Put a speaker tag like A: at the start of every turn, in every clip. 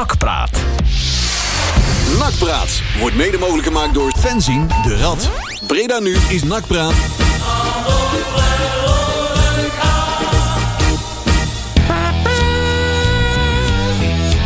A: Nakpraat.
B: Nakpraat wordt mede mogelijk gemaakt door
A: Fenzien de Rad.
B: Breda Nu is Nakpraat.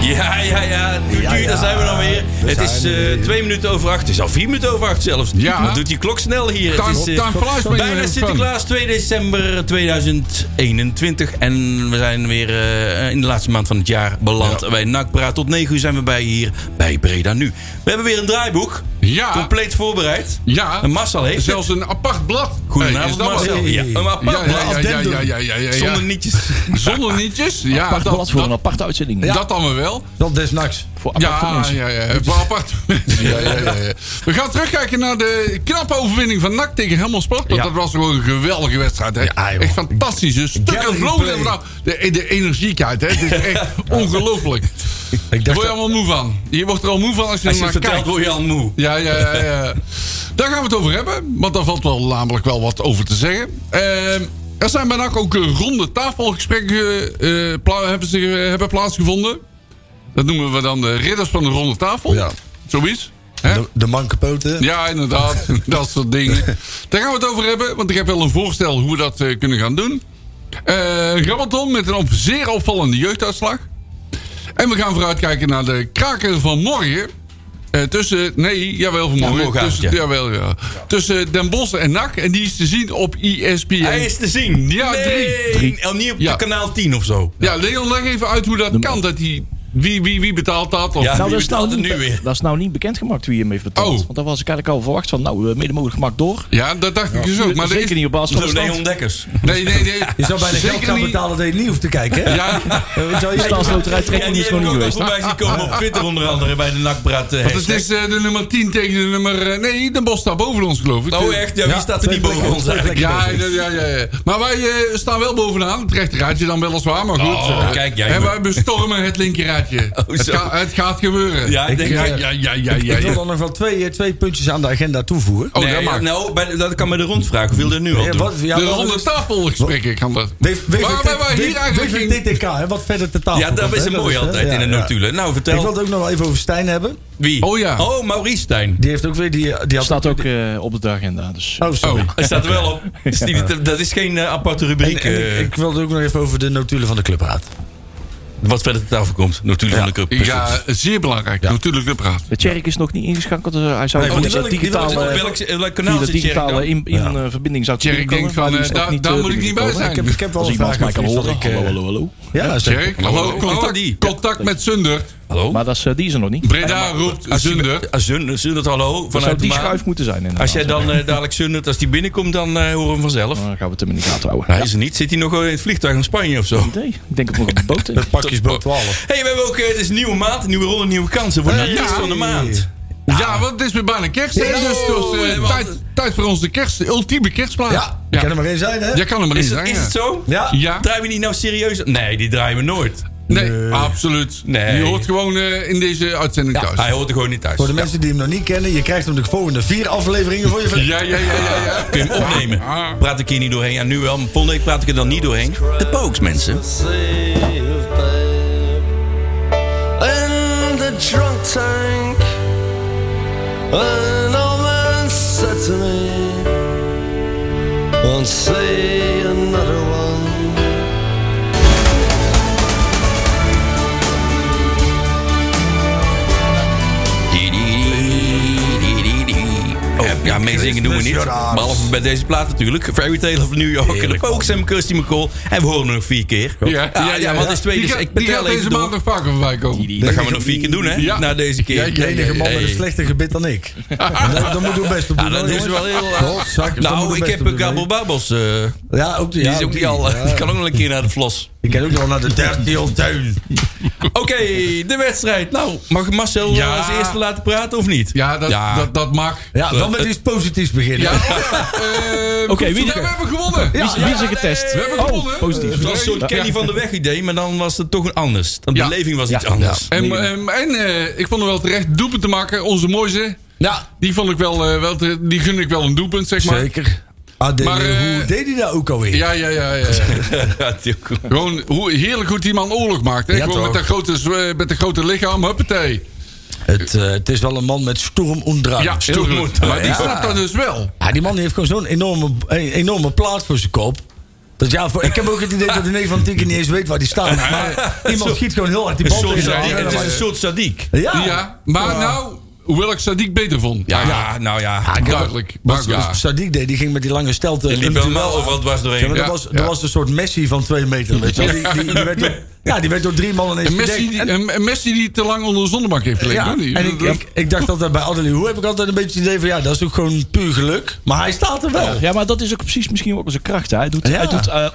C: Ja, ja, ja. Doet u, daar zijn we dan weer. het is eh, twee minuten over acht. Het is al vier minuten over acht zelfs.
D: Ja.
C: Wat doet die klok snel hier?
D: Time-
C: het is, eh,
D: time flies when you're
C: bijna
D: having
C: Sinterklaas, 2 december 2021. En we zijn weer eh, in de laatste maand van het jaar beland bij Nakpraat. Tot 9 uur zijn we bij hier bij Breda Nu. We hebben weer een draaiboek.
D: Ja.
C: Compleet voorbereid.
D: Ja.
C: En Marcel heeft
D: Zelfs een apart blad.
C: Goedenavond,
D: Hey, is dat
C: Marcel.
D: wat?
C: Ja, een apart
D: Ja,
C: blad.
D: ja, ja, ja, ja, ja, ja, ja.
C: Zonder nietjes.
D: Zonder nietjes? Ja,
E: Apart
D: dat-
E: blad voor een
D: dat-
E: aparte uitzending.
D: Dat dan weer wel.
F: Dat desnachts.
E: Voor aparte
D: Ja,
E: mensen.
D: ja, ja. Voor apart. Ja, ja, ja, ja. We gaan terugkijken naar de knappe overwinning van NAC tegen Helmond Sport. Want
C: Ja.
D: dat was gewoon een geweldige wedstrijd. Hè.
F: Ja, joh.
D: echt fantastisch. Dus stukken
F: Gallery
D: vlogen.
F: play.
D: er vanaf. De, de energiekheid. Hè. Het is echt ongelooflijk.
F: Ik
D: Daar word
F: dacht
D: je
F: dat-
D: allemaal moe van. Je wordt er al moe van als je
C: Als
D: er
C: je het
D: naar
C: vertelt,
D: kijkt.
C: word je al moe.
D: Ja, ja, ja, ja. Daar gaan we het over hebben. Want daar valt wel namelijk wel wat over te zeggen. Ehm, er zijn bijna ook eh, ronde tafelgesprekken eh, pla- hebben, zich, eh, hebben plaatsgevonden. Dat noemen we dan de ridders van de ronde tafel.
F: Ja.
D: Zoiets. Hè?
F: de, de mankepoten.
D: Ja, inderdaad. dat soort dingen. Daar gaan we het over hebben. Want ik heb wel een voorstel hoe we dat eh, kunnen gaan doen. Eh Rabaton met een op zeer opvallende jeugduitslag. En we gaan vooruitkijken naar de kraker van morgen. Eh, tussen, nee, jawel van morgen.
C: morgenavond,
D: tussen,
C: ja.
D: jawel, ja. tussen Den Bosch en NAC. En die is te zien op E ESPN.
C: Hij is te zien.
D: Ja, drie.
C: drie. En niet op
D: Ja.
C: kanaal 10 of zo.
D: Ja, Leon, leg even uit hoe dat kan. Dat die, wie, wie, wie betaalt dat?
C: Ja.
D: Of wie
C: wie
E: Nou, dat, is nou
C: betaalt
E: niet,
C: het nu weer?
E: dat is nou niet bekendgemaakt wie hem heeft betaald.
D: Oh.
E: Want dat was ik eigenlijk al verwacht van, nou, eh, mede mogelijk gemaakt door.
D: Ja, dat dacht ik dus ook. Maar er
E: Zeker
D: is,
E: niet op basis van de
C: Zo
E: stand.
C: Leon Dekkers.
D: nee, nee, nee.
F: Je zou bijna
D: Zeker
F: geld gaan
D: niet.
F: betalen dat je niet hoeft te kijken. Hè?
D: Ja,
F: Eh, zou je
E: De staatsloterij
C: Ja,
E: trekken
C: die
E: is gewoon
C: hebben
E: niet
C: ook al
E: geweest.
C: voorbij zien komen op Twitter onder andere bij de nakbraat eh,
D: Want
C: hashtag.
D: het is eh, de nummer 10 tegen de nummer. eh, nee, de Bos staat boven ons, geloof ik. Eh,
C: Oh echt? Ja, wie staat er niet
F: twee
C: boven ons
F: plekken,
C: eigenlijk?
D: Ja, ja, ja, ja, ja. Maar wij eh, staan wel bovenaan. Het rechterraadje dan weliswaar, maar goed.
C: Oh,
D: eh,
C: kijk jij
D: En
C: maar.
D: wij bestormen het linkerraadje. het,
C: zo.
D: ga- het gaat gebeuren.
C: Ja, ik denk-
D: ja, ja, ja, ja, ja,
F: Ik wil
D: ja.
F: dan nog wel twee, eh, twee puntjes aan de agenda toevoegen.
D: Oh,
C: Nee,
D: dat mag.
C: nou, bij de- dat kan bij de rondvraag. Hoeveel er nu al
F: Eh,
C: doen?
F: wat- ja,
D: De
F: wat-
D: ronde tafelgesprekken kan dat.
F: W- W-
D: Waar wij- wij hier eigenlijk
F: W-
D: ging-
F: DTK, hè, wat verder te tafel
C: Ja, dat
F: komt,
C: is
F: hè,
C: een mooi
F: hè,
C: altijd
F: ja,
C: in de
F: ja.
C: notulen. Nou,
F: Ik
C: vertel.
F: wil het ook nog wel even over Stijn hebben.
C: Wie?
D: Oh, ja.
C: Oh, Maurice Stijn.
F: Die heeft ook weer die. die had
E: staat ook eh, op de agenda. Dus.
F: Oh, sorry.
D: Oh.
C: Hij staat er wel op. Is die niet- Dat is geen eh, aparte
F: En-
C: rubriek.
F: en
C: eh,
F: ik, ik wilde ook nog even over de notulen van de clubraad.
C: Wat verder te tafel komt. Notulen van de club.
D: Ja, Oh, zeer belangrijk. Natuurlijk de praat.
E: De Tjerk is nog niet ingeschakeld. dus hij zou
F: Nee,
E: via
F: die
E: dat
F: wil ik- die
E: digitale,
F: wil ik-
C: Op
E: via
C: welk, eh, welk kanaal
E: dat
C: zit Tjerk
E: digitale
C: dan?
E: in, in eh, verbinding zou het
D: Tjerk
E: binnenkomen,
D: denkt van,
E: maar die is
D: eh,
E: nog
D: daar-
E: niet,
D: daar
E: eh,
D: moet ik niet
E: binnengekomen.
D: bij zijn.
F: Ik heb, ik heb wel
E: Als
F: een vraag
E: iemand mij kan
F: over
E: horen.
F: iets dat ik,
E: Hallo, hallo,
F: eh,
E: hallo.
F: Ja, zeker.
D: Jerk, hallo,
C: Hallo,
D: contact,
C: Oh, die.
D: contact met Zunder.
C: Hallo?
E: Maar dat is, eh, die is er nog niet.
D: Breda roept Zunder.
C: Ah, Zun- Zundert, hallo.
E: Dat
C: Vanuit
E: zou
C: de
E: die
C: maan.
E: schuif moeten zijn. inderdaad.
C: Als jij dan eh, dadelijk Zundert, als die binnenkomt, dan eh, horen we hem vanzelf.
E: Nou, Dan gaan we het hem in de gaten houden.
C: Hij is er niet. Zit hij nog eh, in het vliegtuig in Spanje of zo?
E: Nee, ik denk ook nog op de boot.
F: Met pakjesboot 12.
C: hey, we hebben ook... eh, Het is een nieuwe maand, nieuwe rollen, nieuwe kansen. Voor de
D: Hey.
C: artiest van de maand.
D: Ja, want het is weer bijna kerst. hè?
F: Ja.
D: Dus het was, eh,
C: Oh, wat-
D: tijd, tijd voor onze kerst. De ultieme kerstplaat.
F: Ja, ik kan er maar één zijn, hè?
D: Jij kan hem maar in
C: Is, het-
D: zijn.
C: is
D: ja.
C: het zo?
F: Ja.
D: Ja.
C: Draaien we die nou serieus? Nee, die draaien we nooit.
D: Nee, absoluut.
C: Nee.
D: Je hoort gewoon eh, in deze uitzending thuis.
C: Hij hoort er gewoon niet thuis.
F: Voor de mensen die hem nog niet kennen, je krijgt hem de volgende vier afleveringen voor je ver-
D: Ja, ja, ja, ja. ja.
C: Kun je hem
D: Ah.
C: opnemen? Praat ik hier niet doorheen? Ja, nu wel. Maar volgende week praat ik er dan niet doorheen. De Pokes, mensen.
G: save babe in the drunk tank. An old man said to me, "Won't see another one."
C: Oh, ja, meezingen doen we niet.
F: Christmas,
C: Behalve bij deze plaat natuurlijk. Fairy Tale of New York. En de
F: Heerlijk,
C: Pokes en Kirsty McCall. En we horen hem nog vier keer. Ah,
D: Ja,
C: ja, ja, want het is twee.
D: Die
C: Dus
D: gaat-
C: ik
D: die gaat
C: betel
D: deze
C: even
D: maand
C: door.
D: nog vaker voorbij komen.
C: Dat gaan we nog vier keer doen, hè?
D: Ja.
C: Na deze keer.
D: Ja, ja,
F: De enige man met een
C: Hey.
F: slechter gebit dan ik. En dat, dat moeten we best op
C: Ja,
F: doen.
C: dat
F: hoor,
C: is wel
F: jongens.
C: heel...
F: Godzakkers, dat
C: Nou,
F: moeten
C: ik
F: we best
C: heb
F: op
C: een
F: doen,
C: Gabel
F: hè.
C: Babels. eh,
F: Ja, ook die.
C: Die
F: ja,
C: is ook die al... eh.
F: ja.
C: Die kan ook nog een keer naar de vlos.
F: Ik kan ook nog wel naar de derde of tuin.
C: Oké, de wedstrijd. Nou, mag ik Marcel eh,
D: Ja.
C: als eerste laten praten of niet?
D: Ja, dat, Dat, dat mag.
F: Ja,
C: eh,
F: dan met iets positiefs beginnen.
D: Ja, oh ja. eh,
E: Oké,
D: goed,
E: wie-
D: ja, we hebben gewonnen.
E: Wie is- Wie is er
C: nee.
E: getest?
D: We hebben gewonnen. Eh,
E: Oh, positief.
C: Het was een soort Kenny van de Weg idee, maar dan was het toch een anders. De
D: Ja.
C: beleving was iets
E: Ja.
C: anders.
D: En, ehm, en eh, ik vond hem wel terecht doelpunt te maken. Onze mooiste.
F: Ja,
D: Die vond ik wel, eh, wel te- die gun ik wel een doelpunt, zeg maar.
F: zeker. Ah, deed-
D: Maar, eh,
F: hoe deed hij dat ook alweer?
D: Ja, ja, ja. ja.
C: Gaat die ook goed.
D: Gewoon hoe heerlijk goed die man oorlog maakt. Hè?
F: Ja,
D: Gewoon
F: toch.
D: met dat, grote, zwe- met dat grote lichaam, huppatee.
F: Het, eh, het is wel een man met storm omdraaien.
D: Ja, heel
C: goed.
D: goed. Maar die
F: Ja.
D: snapt dat dus wel.
F: Ja, die man die heeft gewoon zo'n enorme, eh, enorme plaat voor zijn kop. Dat ja, voor, ik heb ook het idee dat de neef van Tinker niet eens weet waar die staat. Maar iemand schiet gewoon heel hard die
C: Een
F: bal
C: soort
F: tegen de
C: sadiek.
F: hand. en
C: Het
F: dan
C: is een
F: was-
C: soort sadiek.
F: Ja, Oh. ja.
D: Ja, maar nou, hoewel ik Sadiq beter vond.
C: Ja, nou
F: Ah,
C: ja.
D: duidelijk. Maar
F: Wat
D: ja.
F: Sadiq deed, die ging met die lange stelte.
C: Die liep
F: een
C: wel
F: duel
C: wel
F: aan.
C: overal dwars
F: Ja, maar
C: doorheen.
F: dat,
D: Ja,
F: was, dat
D: ja.
F: was een soort Messi van twee meter. Weet je wel. Die, die, die werd door, ja, die werd door drie mannen ineens
D: Een Messi,
F: gedekt.
D: die, een, een Messi die te lang onder de zonnebank heeft gelegen.
F: Ja,
D: hoor. Die-
F: en ik,
D: dat-
F: ik, ik dacht altijd bij Adelie Hoe heb ik altijd een beetje het idee van ja, dat is ook gewoon puur geluk. Maar hij staat er wel.
E: Ja, maar dat is ook precies misschien ook zijn kracht. Hè. Hij doet,
F: Ja.
E: hij doet eh,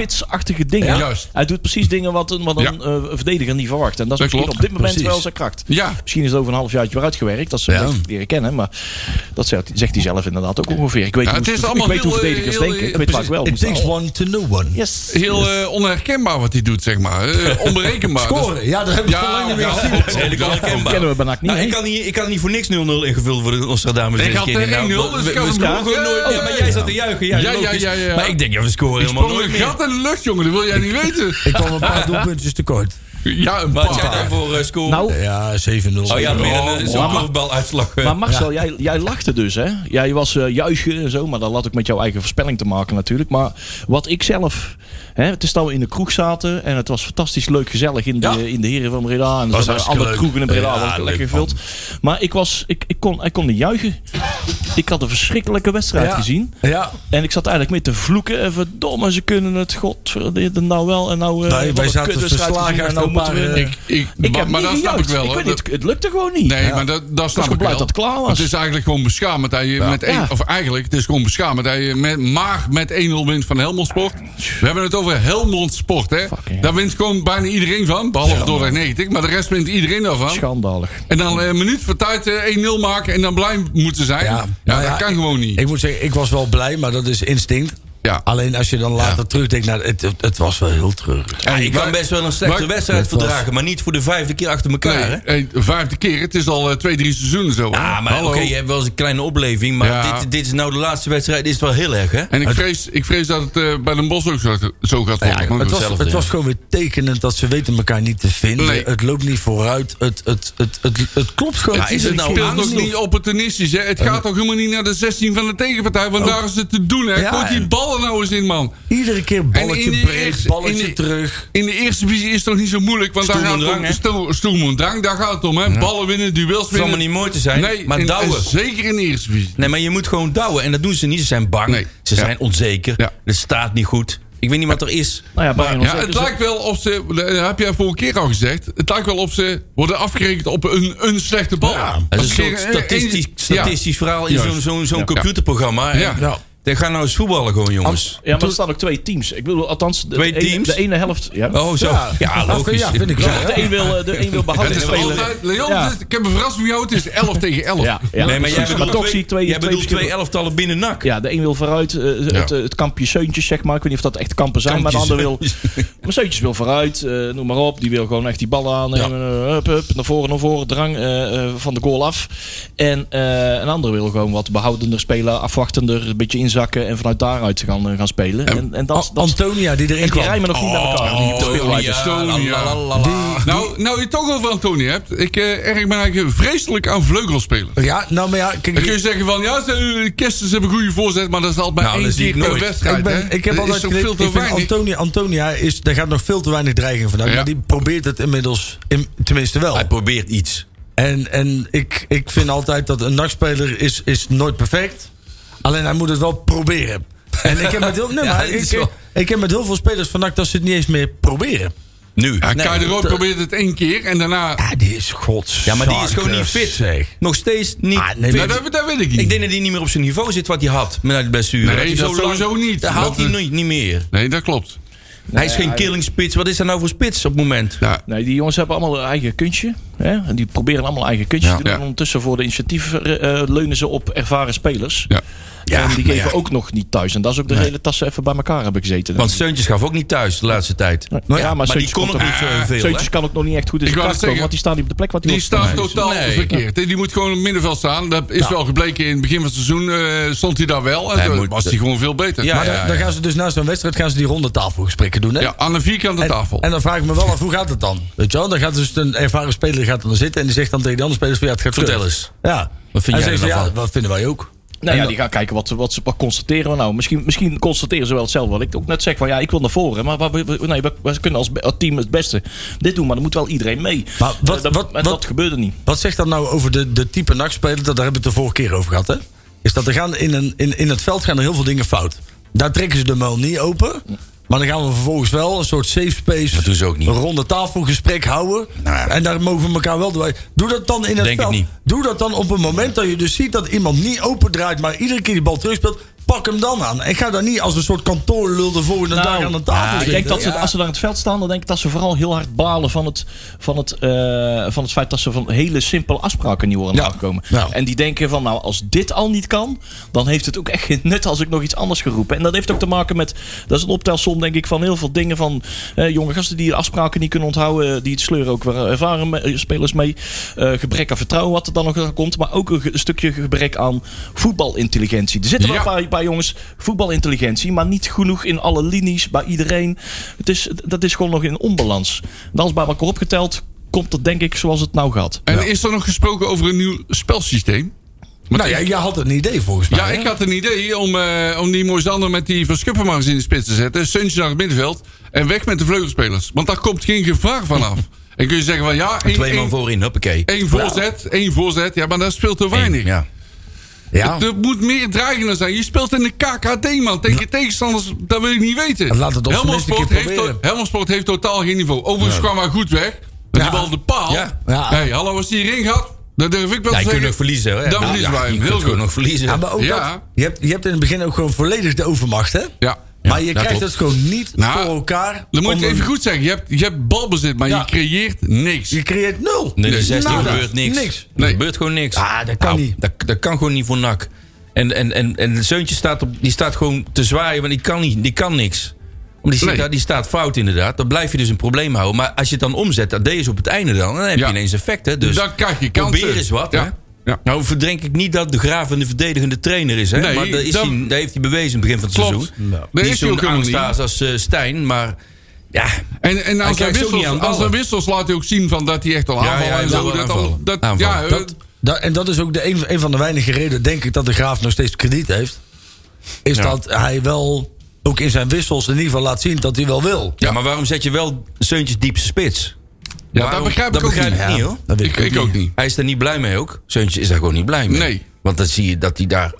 E: onspitsachtige dingen.
D: Ja, juist.
E: Hij doet precies dingen wat een, wat een eh, verdediger niet verwacht. En dat is
D: Dat
E: misschien
D: klopt.
E: op dit moment
F: Precies.
E: wel zijn kracht.
D: Ja.
E: Misschien is het over een half jaar weer uitgewerkt. Dat ze hem echt leren kennen. Maar dat zegt, zegt hij zelf inderdaad ook ongeveer. Ik weet,
D: Ja,
E: hoe,
D: het is
E: ik
D: allemaal
E: weet hoe
D: heel, eh,
E: verdedigers
D: heel,
E: denken.
D: eh,
E: Ik weet waar ik
D: precies.
E: wel
F: It
E: moest
F: takes
E: houden.
F: one to know one.
E: Yes.
D: Heel eh, onherkenbaar wat hij doet, zeg maar. Eh, onberekenbaar.
F: Scoren, ja, dat heb ik al lang niet meer
D: ja,
F: gezien.
D: ja,
C: Dat is redelijk onherkenbaar.
E: kennen we bijna niet,
C: Nou, ik,
E: hè?
C: kan niet, ik kan niet voor niks 0-0 ingevuld worden in Nostradamus.
D: Ik
C: deze
D: had
C: keer.
D: er 1-0, dus
C: Nou, we-
D: ik had
C: we
D: hem
C: scoren
D: gewoon,
C: gewoon nooit.
D: eh,
C: Ja, maar jij zat te juichen. Ja,
D: Ja, ja,
C: logisch.
D: ja, ja.
C: Maar ik denk, ja, we scoren
D: Ik
C: helemaal
D: sprong
C: nooit
D: een
C: meer.
D: gat in de lucht, jongen. Dat wil jij niet weten.
F: Ik kwam een paar doelpuntjes tekort.
D: Ja, een
C: Wat had jij
D: paar.
C: daarvoor eh, scoren?
E: Nou,
F: Ja, 7-0.
C: oh ja, meer
D: Oh,
C: een eh, zo'n
E: maar-
C: korfbaluitslag. eh.
E: Maar Marcel, jij, jij lachte dus, hè? Jij was eh juichen en zo, maar dat had ook met jouw eigen voorspelling te maken natuurlijk. Maar wat ik zelf... Hè, het is dat we in de kroeg zaten en het was fantastisch leuk gezellig in de, in de Heren van Breda. En er waren
F: hartstikke
E: andere
F: leuk.
E: kroegen in Breda,
F: Ja,
E: was
F: leuk,
E: lekker gevuld. Maar ik, was, ik, ik, kon, ik kon niet juichen. Ik had een verschrikkelijke wedstrijd
F: Ja.
E: gezien.
F: Ja,
E: En ik zat eigenlijk mee te vloeken. En verdomme, ze kunnen het. Godverdikke, nou wel. En nou, eh,
F: Wij- wij
E: wat een
F: zaten
E: kutwedstrijd
F: verslagen
E: gezien, en
F: achter
E: nou moeten
F: elkaar,
E: we...
F: eh,
D: Ik, ik,
E: ik
D: maar
E: heb
D: maar
E: niet
D: dat snap ik
E: gejuicht.
D: wel. hoor.
E: weet niet, het, lukte gewoon niet.
D: Nee, maar dat, dat
E: was
D: snap ik wel.
E: blij dat het klaar was.
D: Het is eigenlijk gewoon beschamend. Dat je met één-
E: Ja.
D: Of eigenlijk, het is gewoon beschamend. Dat je met, maar met 1-0 wint van Helmond Sport. We hebben het over Helmond Sport, hè.
E: Fucking
D: Daar wint gewoon bijna iedereen van. Behalve door 90. Maar de rest wint iedereen daarvan.
E: Schandalig.
D: En dan eh, een minuut voor tijd eh, 1-0 maken en dan blij moeten zijn. Ja,
F: Ja. Nou
D: dat
F: ja,
D: kan gewoon niet.
F: ik Ah, moet zeggen, ik was wel blij, maar dat is instinct.
D: Ja.
F: Alleen als je dan later
D: Ja.
F: terugdenkt, nou, het, het, het was wel heel treurig.
C: Ja, ik kan
D: Waar-
C: best wel een slechte
D: waar-
C: wedstrijd
F: Dat was-
C: verdragen, maar niet voor de vijfde keer achter elkaar. hè?
D: Nee, eh, vijfde keer. Het is al eh, twee, drie seizoenen zo. hè.
C: Ah, maar oké,
D: Hallo.
C: je hebt wel eens een kleine opleving. Maar
D: Ja.
C: dit, dit is nou de laatste wedstrijd. Is het wel heel erg, hè?
D: En ik vrees, ik vrees dat het eh, bij Den Bosch ook zo, zo gaat worden.
F: het was,
C: hetzelfde,
F: het
C: ja.
F: was gewoon weer tekenend dat ze weten elkaar niet te vinden.
D: Nee.
F: Het loopt niet vooruit. Het, het, het, het, het klopt gewoon.
C: Ja, is het nou
D: het
F: geen-
D: speelt ook niet opportunistisch. Hè? Het gaat ook helemaal niet naar de 16 van de tegenpartij. Want daar is het te doen. Hè?
F: Ja,
D: Komt die
F: en-
D: ballen nou eens in, man.
F: Iedere keer balletje
D: die
F: breed,
D: eerste- in
F: balletje
D: die-
F: terug.
D: In de eerste divisie is het toch niet zo moeilijk. Want daar
C: Stoem
D: gaat
C: en
D: het om.
C: drang, hè?
D: Sto- Stoem en drang, daar gaat het om. Hè? Ballen winnen, duels
C: Het is allemaal
D: winnen.
C: niet mooi te zijn,
D: nee,
C: maar
D: in-
C: douwen.
D: Zeker in de eerste divisie.
C: Nee, maar je moet gewoon douwen. En dat doen ze niet. Ze zijn bang.
D: Nee.
C: Ze
D: Ja.
C: zijn onzeker.
D: Ja.
C: Het staat niet goed. Ik weet niet wat er is.
E: Nou ja, Brian,
D: Ja, het lijkt wel of ze, dat heb jij vorige keer al gezegd, het lijkt wel of ze worden afgerekend op een, een slechte bal.
C: Dat
D: Als
C: is een soort
D: keer-
C: statistisch,
D: eh, een-
C: statistisch verhaal in
D: Juist.
C: zo'n zo'n zo'n
D: Ja.
C: computerprogramma. En
D: Ja. Ja.
C: Dan gaan nou eens voetballen gewoon, jongens.
E: Ja, maar er staan ook twee teams. Ik bedoel, althans, de,
C: Twee
E: de ene-
C: teams?
E: de ene helft. Ja.
C: oh, zo. Ja, logisch.
F: Ja, vind ik wel.
E: De een wil, eh, de een wil
D: Ja.
E: behouden
D: Het is
E: spelen.
D: altijd, Leon,
E: Ja.
D: het is- ik heb een verrassing voor jou, het is 11 tegen 11.
E: Ja, ja.
C: Nee, maar jij
E: precies.
C: bedoelt
E: toch zie
C: twee,
E: ik twee,
C: jij
E: twee
C: bedoelt twee
E: verschillende-
C: elftallen binnen nak.
E: Ja, de een wil vooruit, eh, het,
D: Ja.
E: eh, het kampje Seuntjes, zeg maar. Ik weet niet of dat echt kampen zijn, maar de ander wil...
C: Kampjes.
E: Maar Seuntjes wil vooruit, eh, noem maar op. Die wil gewoon echt die ballen aannemen. eh, hup, hup, naar voren, naar voren, drang eh, eh, van de goal af. En eh, een ander wil gewoon wat behoudender spelen, afwachtender, een beetje inzakken en vanuit daaruit gaan, eh, gaan spelen. En, en dat,
F: An-
E: dat,
F: Antonia die erin
E: en die
F: kwam.
E: rijmen nog niet bij elkaar.
D: Oh,
E: die speelwijzes.
D: ja. Estonia.
C: la, la, la, la.
D: Nou, nou je het toch over Antonie hebt, ik eh, erg ben eigenlijk vreselijk aan vleugelspelen.
F: Ja, nou maar ja, kijk,
D: Dan kun je zeggen van, ja, ze, Kistens hebben een goede voorzet, maar dat is altijd bij
C: Nou,
D: één
C: dat zie
D: keer
C: ik
D: per
C: nooit.
D: wedstrijd.
F: ik, ben,
D: hè?
F: ik heb
D: Dat
F: altijd
D: is toch veel
F: geleerd,
D: te
F: ik vind
D: weinig.
F: Antonia, Antonia is, daar gaat nog veel te weinig dreiging vanuit.
D: Ja.
F: Maar die probeert het inmiddels, in- tenminste wel.
C: Hij probeert iets.
F: En, en ik, ik vind altijd dat een nachtspeler is, is nooit perfect. Alleen hij moet het wel proberen. En ik heb met heel, nee,
C: Ja,
F: maar
C: dat
F: ik,
C: is wel-
F: ik heb met heel veel spelers van NAC dat ze het niet eens meer proberen.
C: Nu.
D: Ja,
C: Nee.
D: Kai de Rood probeert het één keer en daarna...
F: Ja, die is gods.
C: Ja, maar die is gewoon niet fit.
F: Zeg.
C: Nog steeds niet
F: Ah, nee,
C: fit.
D: Nou, dat, dat weet ik niet.
C: Ik denk dat hij niet meer op zijn niveau zit wat hij had met de blessure.
D: Nee,
C: hij
D: dat sowieso niet.
C: Dat haalt
D: Dat,
C: hij
D: eh,
C: niet, niet meer.
D: Nee, dat klopt.
C: hij is geen killing spits. Wat is dat nou voor spits op het moment?
D: Ja.
E: Nee, die jongens hebben allemaal hun eigen kunstje. Hè? En die proberen allemaal eigen kunstje te doen.
D: Ja.
E: En ondertussen voor de initiatief eh, eh, leunen ze op ervaren spelers.
D: Ja.
C: Ja,
E: en die
C: maar
E: geven
C: ja.
E: ook nog niet thuis. En dat is ook de hele tas even bij elkaar hebben gezeten.
C: Want Seuntjes gaf ook niet thuis de laatste tijd.
E: Nou ja, maar
C: die
E: Seuntjes
C: kon
E: komt
C: ook
E: er-
C: niet zoveel. hè?
E: Zeuntjes eh, kan ook nog niet echt goed in
D: Ik
E: zijn
D: wou
E: kracht komen,
D: net zeggen,
E: want die staan niet op de plek wat
D: Die staat totaal
C: Nee.
D: verkeerd. Die moet gewoon in het middenveld staan. Dat is wel gebleken in het begin van het seizoen. eh, stond hij daar wel. En
C: Hij
D: toen
C: moet-
D: was hij gewoon veel beter.
C: Ja,
D: Maar-
F: Maar dan, dan gaan ze dus na zo'n wedstrijd gaan ze die ronde tafelgesprekken doen. Hè?
D: ja, aan een vierkante
F: En,
D: tafel.
F: en dan vraag ik me wel af, hoe gaat het dan? Weet je wel, dan gaat dus een ervaren speler gaat dan zitten en die zegt dan tegen die andere spelers: van, ja, het gaat
C: Vertel
F: kut.
C: eens.
F: Ja.
C: Wat vind
F: En
C: jij
F: zeggen ze,
C: er nou
F: ja,
C: van?
F: Wat vinden wij ook?
E: Nou ja, die gaan kijken wat, wat, ze- wat constateren we nou. Misschien, misschien constateren ze wel hetzelfde. Wat ik ook net zeg van ja, ik wil naar voren. Maar we, we- nee, we, we kunnen als, be- als team het beste dit doen. Maar dan moet wel iedereen mee.
F: Maar wat-
E: Eh, dat,
F: wat-
E: en
F: wat-
E: dat gebeurde niet.
F: Wat zegt dat nou over de, de type nachtspeler? Dat, daar hebben we het de vorige keer over gehad. Hè? Is dat er gaan in, een, in, in het veld gaan er heel veel dingen fout. Daar trekken ze de mouw niet open. Maar dan gaan we vervolgens wel een soort safe space.
C: Dat doen ze ook niet.
F: Een ronde tafelgesprek houden.
C: Nou ja.
F: En daar mogen we elkaar wel door. Doe dat dan in het
C: Denk het
F: veld.
C: niet.
F: Doe dat dan op een moment dat je dus ziet dat iemand niet opendraait. maar iedere keer die bal terugspeelt. Pak hem dan aan. En ga daar niet als een soort kantoorlul de volgende
E: Nou,
F: dag aan de tafel
C: ja,
E: Ik
F: zitten.
E: denk dat ze, als ze daar in het veld staan, dan denk ik dat ze vooral heel hard balen van het, van het, eh, van het feit dat ze van hele simpele afspraken niet worden
F: Ja.
E: aangekomen.
F: Ja.
E: En die denken van, nou, als dit al niet kan, dan heeft het ook echt geen nut als ik nog iets anders geroepen. En dat heeft ook te maken met, dat is een optelsom denk ik van heel veel dingen van eh, jonge gasten die afspraken niet kunnen onthouden, eh, die het sleuren ook weer ervaren me- eh, spelers mee. Eh, gebrek aan vertrouwen wat er dan nog komt, maar ook een, ge- stukje gebrek aan voetbalintelligentie. Er zitten wel
D: Ja.
E: een paar bij, bij jongens voetbalintelligentie, maar niet genoeg in alle linies bij iedereen. Het is, dat is gewoon nog in onbalans. En als bij elkaar opgeteld komt dat denk ik zoals het nou gaat.
D: En is er nog gesproken over een nieuw spelsysteem? Want
F: nou, ja,
D: ik-
F: jij had een idee volgens mij.
D: ja,
F: hè?
D: ik had een idee om, eh, om die Moisander met die Van Schuppen maar eens in de spits te zetten. Suntje naar het middenveld. En weg met de vleugelspelers. Want daar komt geen gevaar vanaf. en kun je zeggen van ja, één,
C: Twee man
D: één,
C: voorin, huppakee.
D: één voorzet, één voorzet. Ja, maar dat speelt te weinig.
C: Eén, Ja.
F: Ja.
D: Er moet meer dreigender zijn. Je speelt in de KKD, man. Tegen tegenstanders, dat wil ik niet weten.
F: Laat het ons
D: Helmond
F: tenminste een
D: Sport
F: keer
D: heeft,
F: proberen.
D: to- Helmond Sport heeft totaal geen niveau. Overigens kwam hij goed weg. Met
F: Ja.
D: die bal op de paal.
F: Ja. Ja.
D: Hey, hallo, als die erin gaat, dan durf
C: Ja,
D: ik wel te
C: je
D: zeggen...
C: kunt nog verliezen. Hè?
D: Dan
C: Ja,
D: verliezen
C: ja, Je
D: wij. Heel
C: kunt
D: goed.
C: gewoon nog verliezen.
F: Ja, maar ook
D: Ja.
F: dat. Je hebt, je hebt in het begin ook gewoon volledig de overmacht, hè?
D: Ja.
F: maar je
C: ja,
F: krijgt
C: klopt.
F: het gewoon niet
D: Nou,
F: voor elkaar.
D: Dan moet
F: om
D: je het even
F: een-
D: goed zeggen. Je hebt, je hebt balbezit, maar
F: Ja.
D: je creëert niks.
F: Je creëert nul.
C: Nee, in de 16
F: Nada.
C: gebeurt niks.
F: niks.
C: Er
D: Nee.
C: gebeurt gewoon niks. Nou,
F: Ah, dat kan niet.
C: Dat, dat kan gewoon niet voor NAC. En, en, en, en de Zeuntje staat, op, die staat gewoon te zwaaien, want die kan, niet, die kan niks. Om die, zit
D: Nee.
C: daar, die staat fout inderdaad. Dan blijf je dus een probleem houden. Maar als je het dan omzet, dat deed je op het einde dan. Dan heb
D: Ja.
C: je ineens effect. Hè? Dus
D: Dan krijg je kansen.
C: Probeer eens wat.
D: Ja.
C: Hè?
D: Ja.
C: Nou verdenk ik niet dat de Graaf een verdedigende trainer is. Hè?
D: Nee,
C: maar dat, is
D: dat-
C: hij, dat heeft hij bewezen in het begin van het
D: Klopt.
C: seizoen.
D: Nou. Dat
C: Niet
D: is hij ook
C: zo'n
D: helemaal niet.
C: angstaas als eh, Stijn. Maar ja,
D: En, en als, hij
C: krijgt ze ook niet aan
D: wissels,
C: de
D: als hij
C: ballen.
D: wissels laat hij ook zien van dat hij echt al
C: Ja,
D: aanvallen
C: ja, hij
D: en
C: wil
D: zo.
C: wel
D: Dat, al-
C: aanvallen.
D: dat,
C: Aanvallen.
D: ja,
F: Dat, dat- en dat is ook de, een, een van de weinige redenen, denk ik, dat de Graaf nog steeds krediet heeft. Is dat hij wel, ook in zijn wissels, in ieder geval laat zien dat hij wel wil.
C: ja, maar waarom zet je wel Zeuntjes diepste spits?
D: ja, dat
C: Waarom-
D: begrijp ik
C: oh, dat
D: ook
C: begrijp
D: niet.
C: ik niet, hoor.
F: Dat weet
D: Ik, ik ook niet.
C: Hij is er niet blij mee ook. Zeuntje is daar gewoon niet blij mee.
D: Nee.
C: Want dan zie je dat hij daar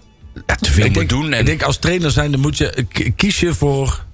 C: ja, te veel
F: Ik
C: moet
F: denk,
C: doen. En
F: ik denk als trainer zijn, dan moet je eh, k- kies je voor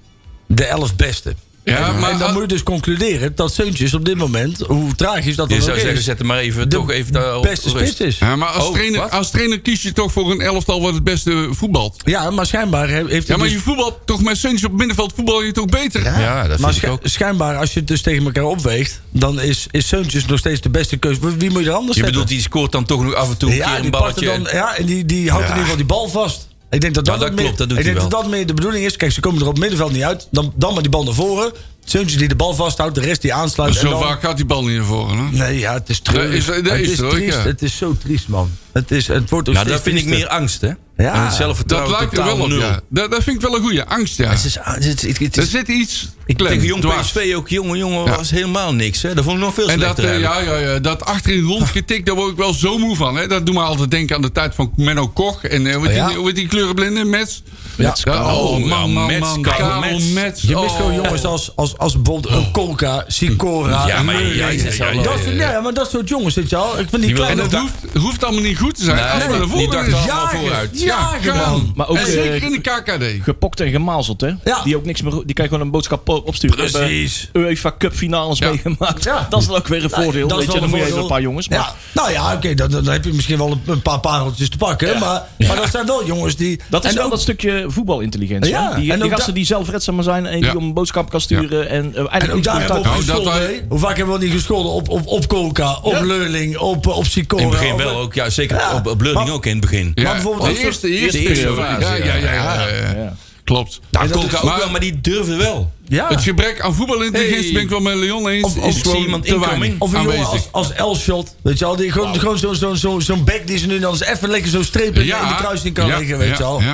F: de elf beste.
D: Ja, maar
F: en dan
D: als-
F: moet je dus concluderen dat Seuntjes op dit moment, hoe tragisch dat
C: je
F: dan ook
C: zou zeggen,
F: is,
C: zet hem maar even,
F: de
C: toch even daar op
F: beste
C: rust.
F: spits is.
D: Ja, maar als,
C: Oh,
D: trainer,
C: wat?
D: als trainer kies je toch voor een elftal wat het beste voetbalt.
F: Ja, maar schijnbaar he- heeft
D: Ja,
F: hij
D: maar
F: dus-
D: je voetbalt toch met Suntje op middenveld voetbal je toch beter?
C: Ja, ah, dat
F: maar
C: vind ik
F: schi-
C: ook.
F: schijnbaar, als je het dus tegen elkaar opweegt... dan is, is Seuntjes nog steeds de beste keuze. Wie wie moet je er anders
C: Je
F: zetten?
C: bedoelt, die scoort dan toch nog af en toe een
F: ja,
C: keer
F: die
C: een balletje.
F: pakt er Dan, ja, en die, die houdt
C: Ja.
F: in ieder geval die bal vast. Ik denk dat dat,
C: Ja, dat
F: ook
C: klopt,
F: meer,
C: dat doet
F: ik
C: hij
F: denk dat
C: wel.
F: dat meer de bedoening is. Kijk, ze komen er op het middenveld niet uit. Dan, dan maar die bal naar voren. Seuntjes die de bal vasthoudt, de rest die aansluit. en
D: Zo
F: dan-
D: vaak gaat die bal niet naar voren. Hè?
F: Nee, ja, het is treurig.
D: Dat is- dat
F: het
D: is
F: is,
D: er ook,
F: triest.
D: ja.
F: Het is zo triest, man. Het, is, het wordt ook
C: Nou, dat
F: steeds
C: vind ik meer
F: triester.
C: angst, hè?
F: Ja.
C: En het
D: Dat
C: zelfvertrouwen
D: lijkt er wel
C: nou, totaal
D: op,
C: nul.
D: ja. Dat, dat vind ik wel een goede angst, ja.
C: Het is, het is- het is-
D: Er zit iets
C: ik,
D: klem,
C: tegen Jong
D: dwars.
C: PSV ook, jongen, jongen,
D: Ja.
C: was helemaal niks. Hè? Dat vond ik nog veel
D: En dat,
C: slechter
D: eh,
C: eigenlijk.
D: ja, ja, ja, dat achterin rondgetikt, daar word ik wel zo moe van. Hè. Dat doet me altijd denken aan de tijd van Menno Koch. En eh, hoe heet
F: Ja.
D: die, hoe heet die kleurenblinde? Mets?
F: Mets,
D: Ja,
C: Karel.
D: oh, man, man,
C: Mets,
D: man.
C: Karel
D: Karel
C: Mets.
D: Mets.
F: Je mist
D: oh.
F: gewoon jongens als, als, als bijvoorbeeld een Kolka, Sikora.
C: Ja, maar
F: Meulen.
C: ja, ja, ja, ja,
F: Dat soort-
C: ja, ja.
F: ja, maar dat soort jongens, zit je al. Ik vind die
C: Die wil-
D: En
F: kleine...
D: dat hoeft, hoeft allemaal niet goed te zijn.
C: Nee,
D: Als
C: die-
D: we naar
C: die
D: voren
C: dacht
D: is-
C: allemaal vooruit.
D: Ja,
F: Jagen,
D: gaan.
F: man.
D: Maar
E: Maar
D: ook,
E: ook,
D: en zeker
E: eh,
D: in de KKD.
E: Gepokt en gemazeld, hè?
F: Ja.
E: Die ook niks meer. Die kan je gewoon een boodschap po- opsturen. We hebben
C: Precies.
E: UEFA Cup finales
D: Ja.
E: meegemaakt. Dat is dan ook weer een voordeel.
F: Nou, Dat is
E: weet je,
F: wel
E: dan moet je
F: voordeel.
E: even een paar jongens. Maar
F: Ja. Nou ja, oké, dan, dan heb je misschien wel een, een paar pareltjes te pakken. Maar, maar dat zijn wel jongens die...
E: dat is
F: en
E: wel
F: ook-
E: dat stukje voetbalintelligentie.
F: Ja,
E: hè? Die,
F: en
E: die
F: ook
E: gasten
F: da-
E: die zelfredzaam zijn en
D: Ja.
E: die om een boodschap kan sturen. En, eh, eigenlijk
F: En ook
E: niet
F: daar
E: goed
F: hebben we
D: Nou,
F: op
D: dat
F: gescholden,
D: wij-
F: hè? Hoe vaak hebben we al niet gescholden op, op, op Kolka, op Leurling, op, op Sikora.
C: In het begin
F: op-
C: wel ook. Ja, zeker
F: Ja.
C: op, op Leurling
F: Maar-
C: ook in het begin.
D: Ja,
F: bijvoorbeeld
D: de
F: dat soort-
D: eerste eerste, eerste,
C: eerste
D: fase. Ja,
C: fase,
D: ja, ja. ja, ja.
E: Ja.
D: Klopt.
C: Daar
D: En dat
C: kon ik
D: is-
C: Nou, ook wel, maar die durfde wel.
F: Ja.
D: Het gebrek aan voetbalintelligentie
C: Hey.
D: ben ik wel met Leon eens.
C: Of- of
D: is
C: zie
D: gewoon
C: iemand
D: te
C: inkomen.
D: weinig
F: Of een jongen
D: aanwezig.
F: als, als Elshot. Weet je al, die, gewoon, gewoon zo'n zo, zo, zo'n bek die ze nu dan eens even lekker zo'n streep in, in de kruising kan
D: ja,
F: leggen, weet
D: ja,
F: je al. Ja.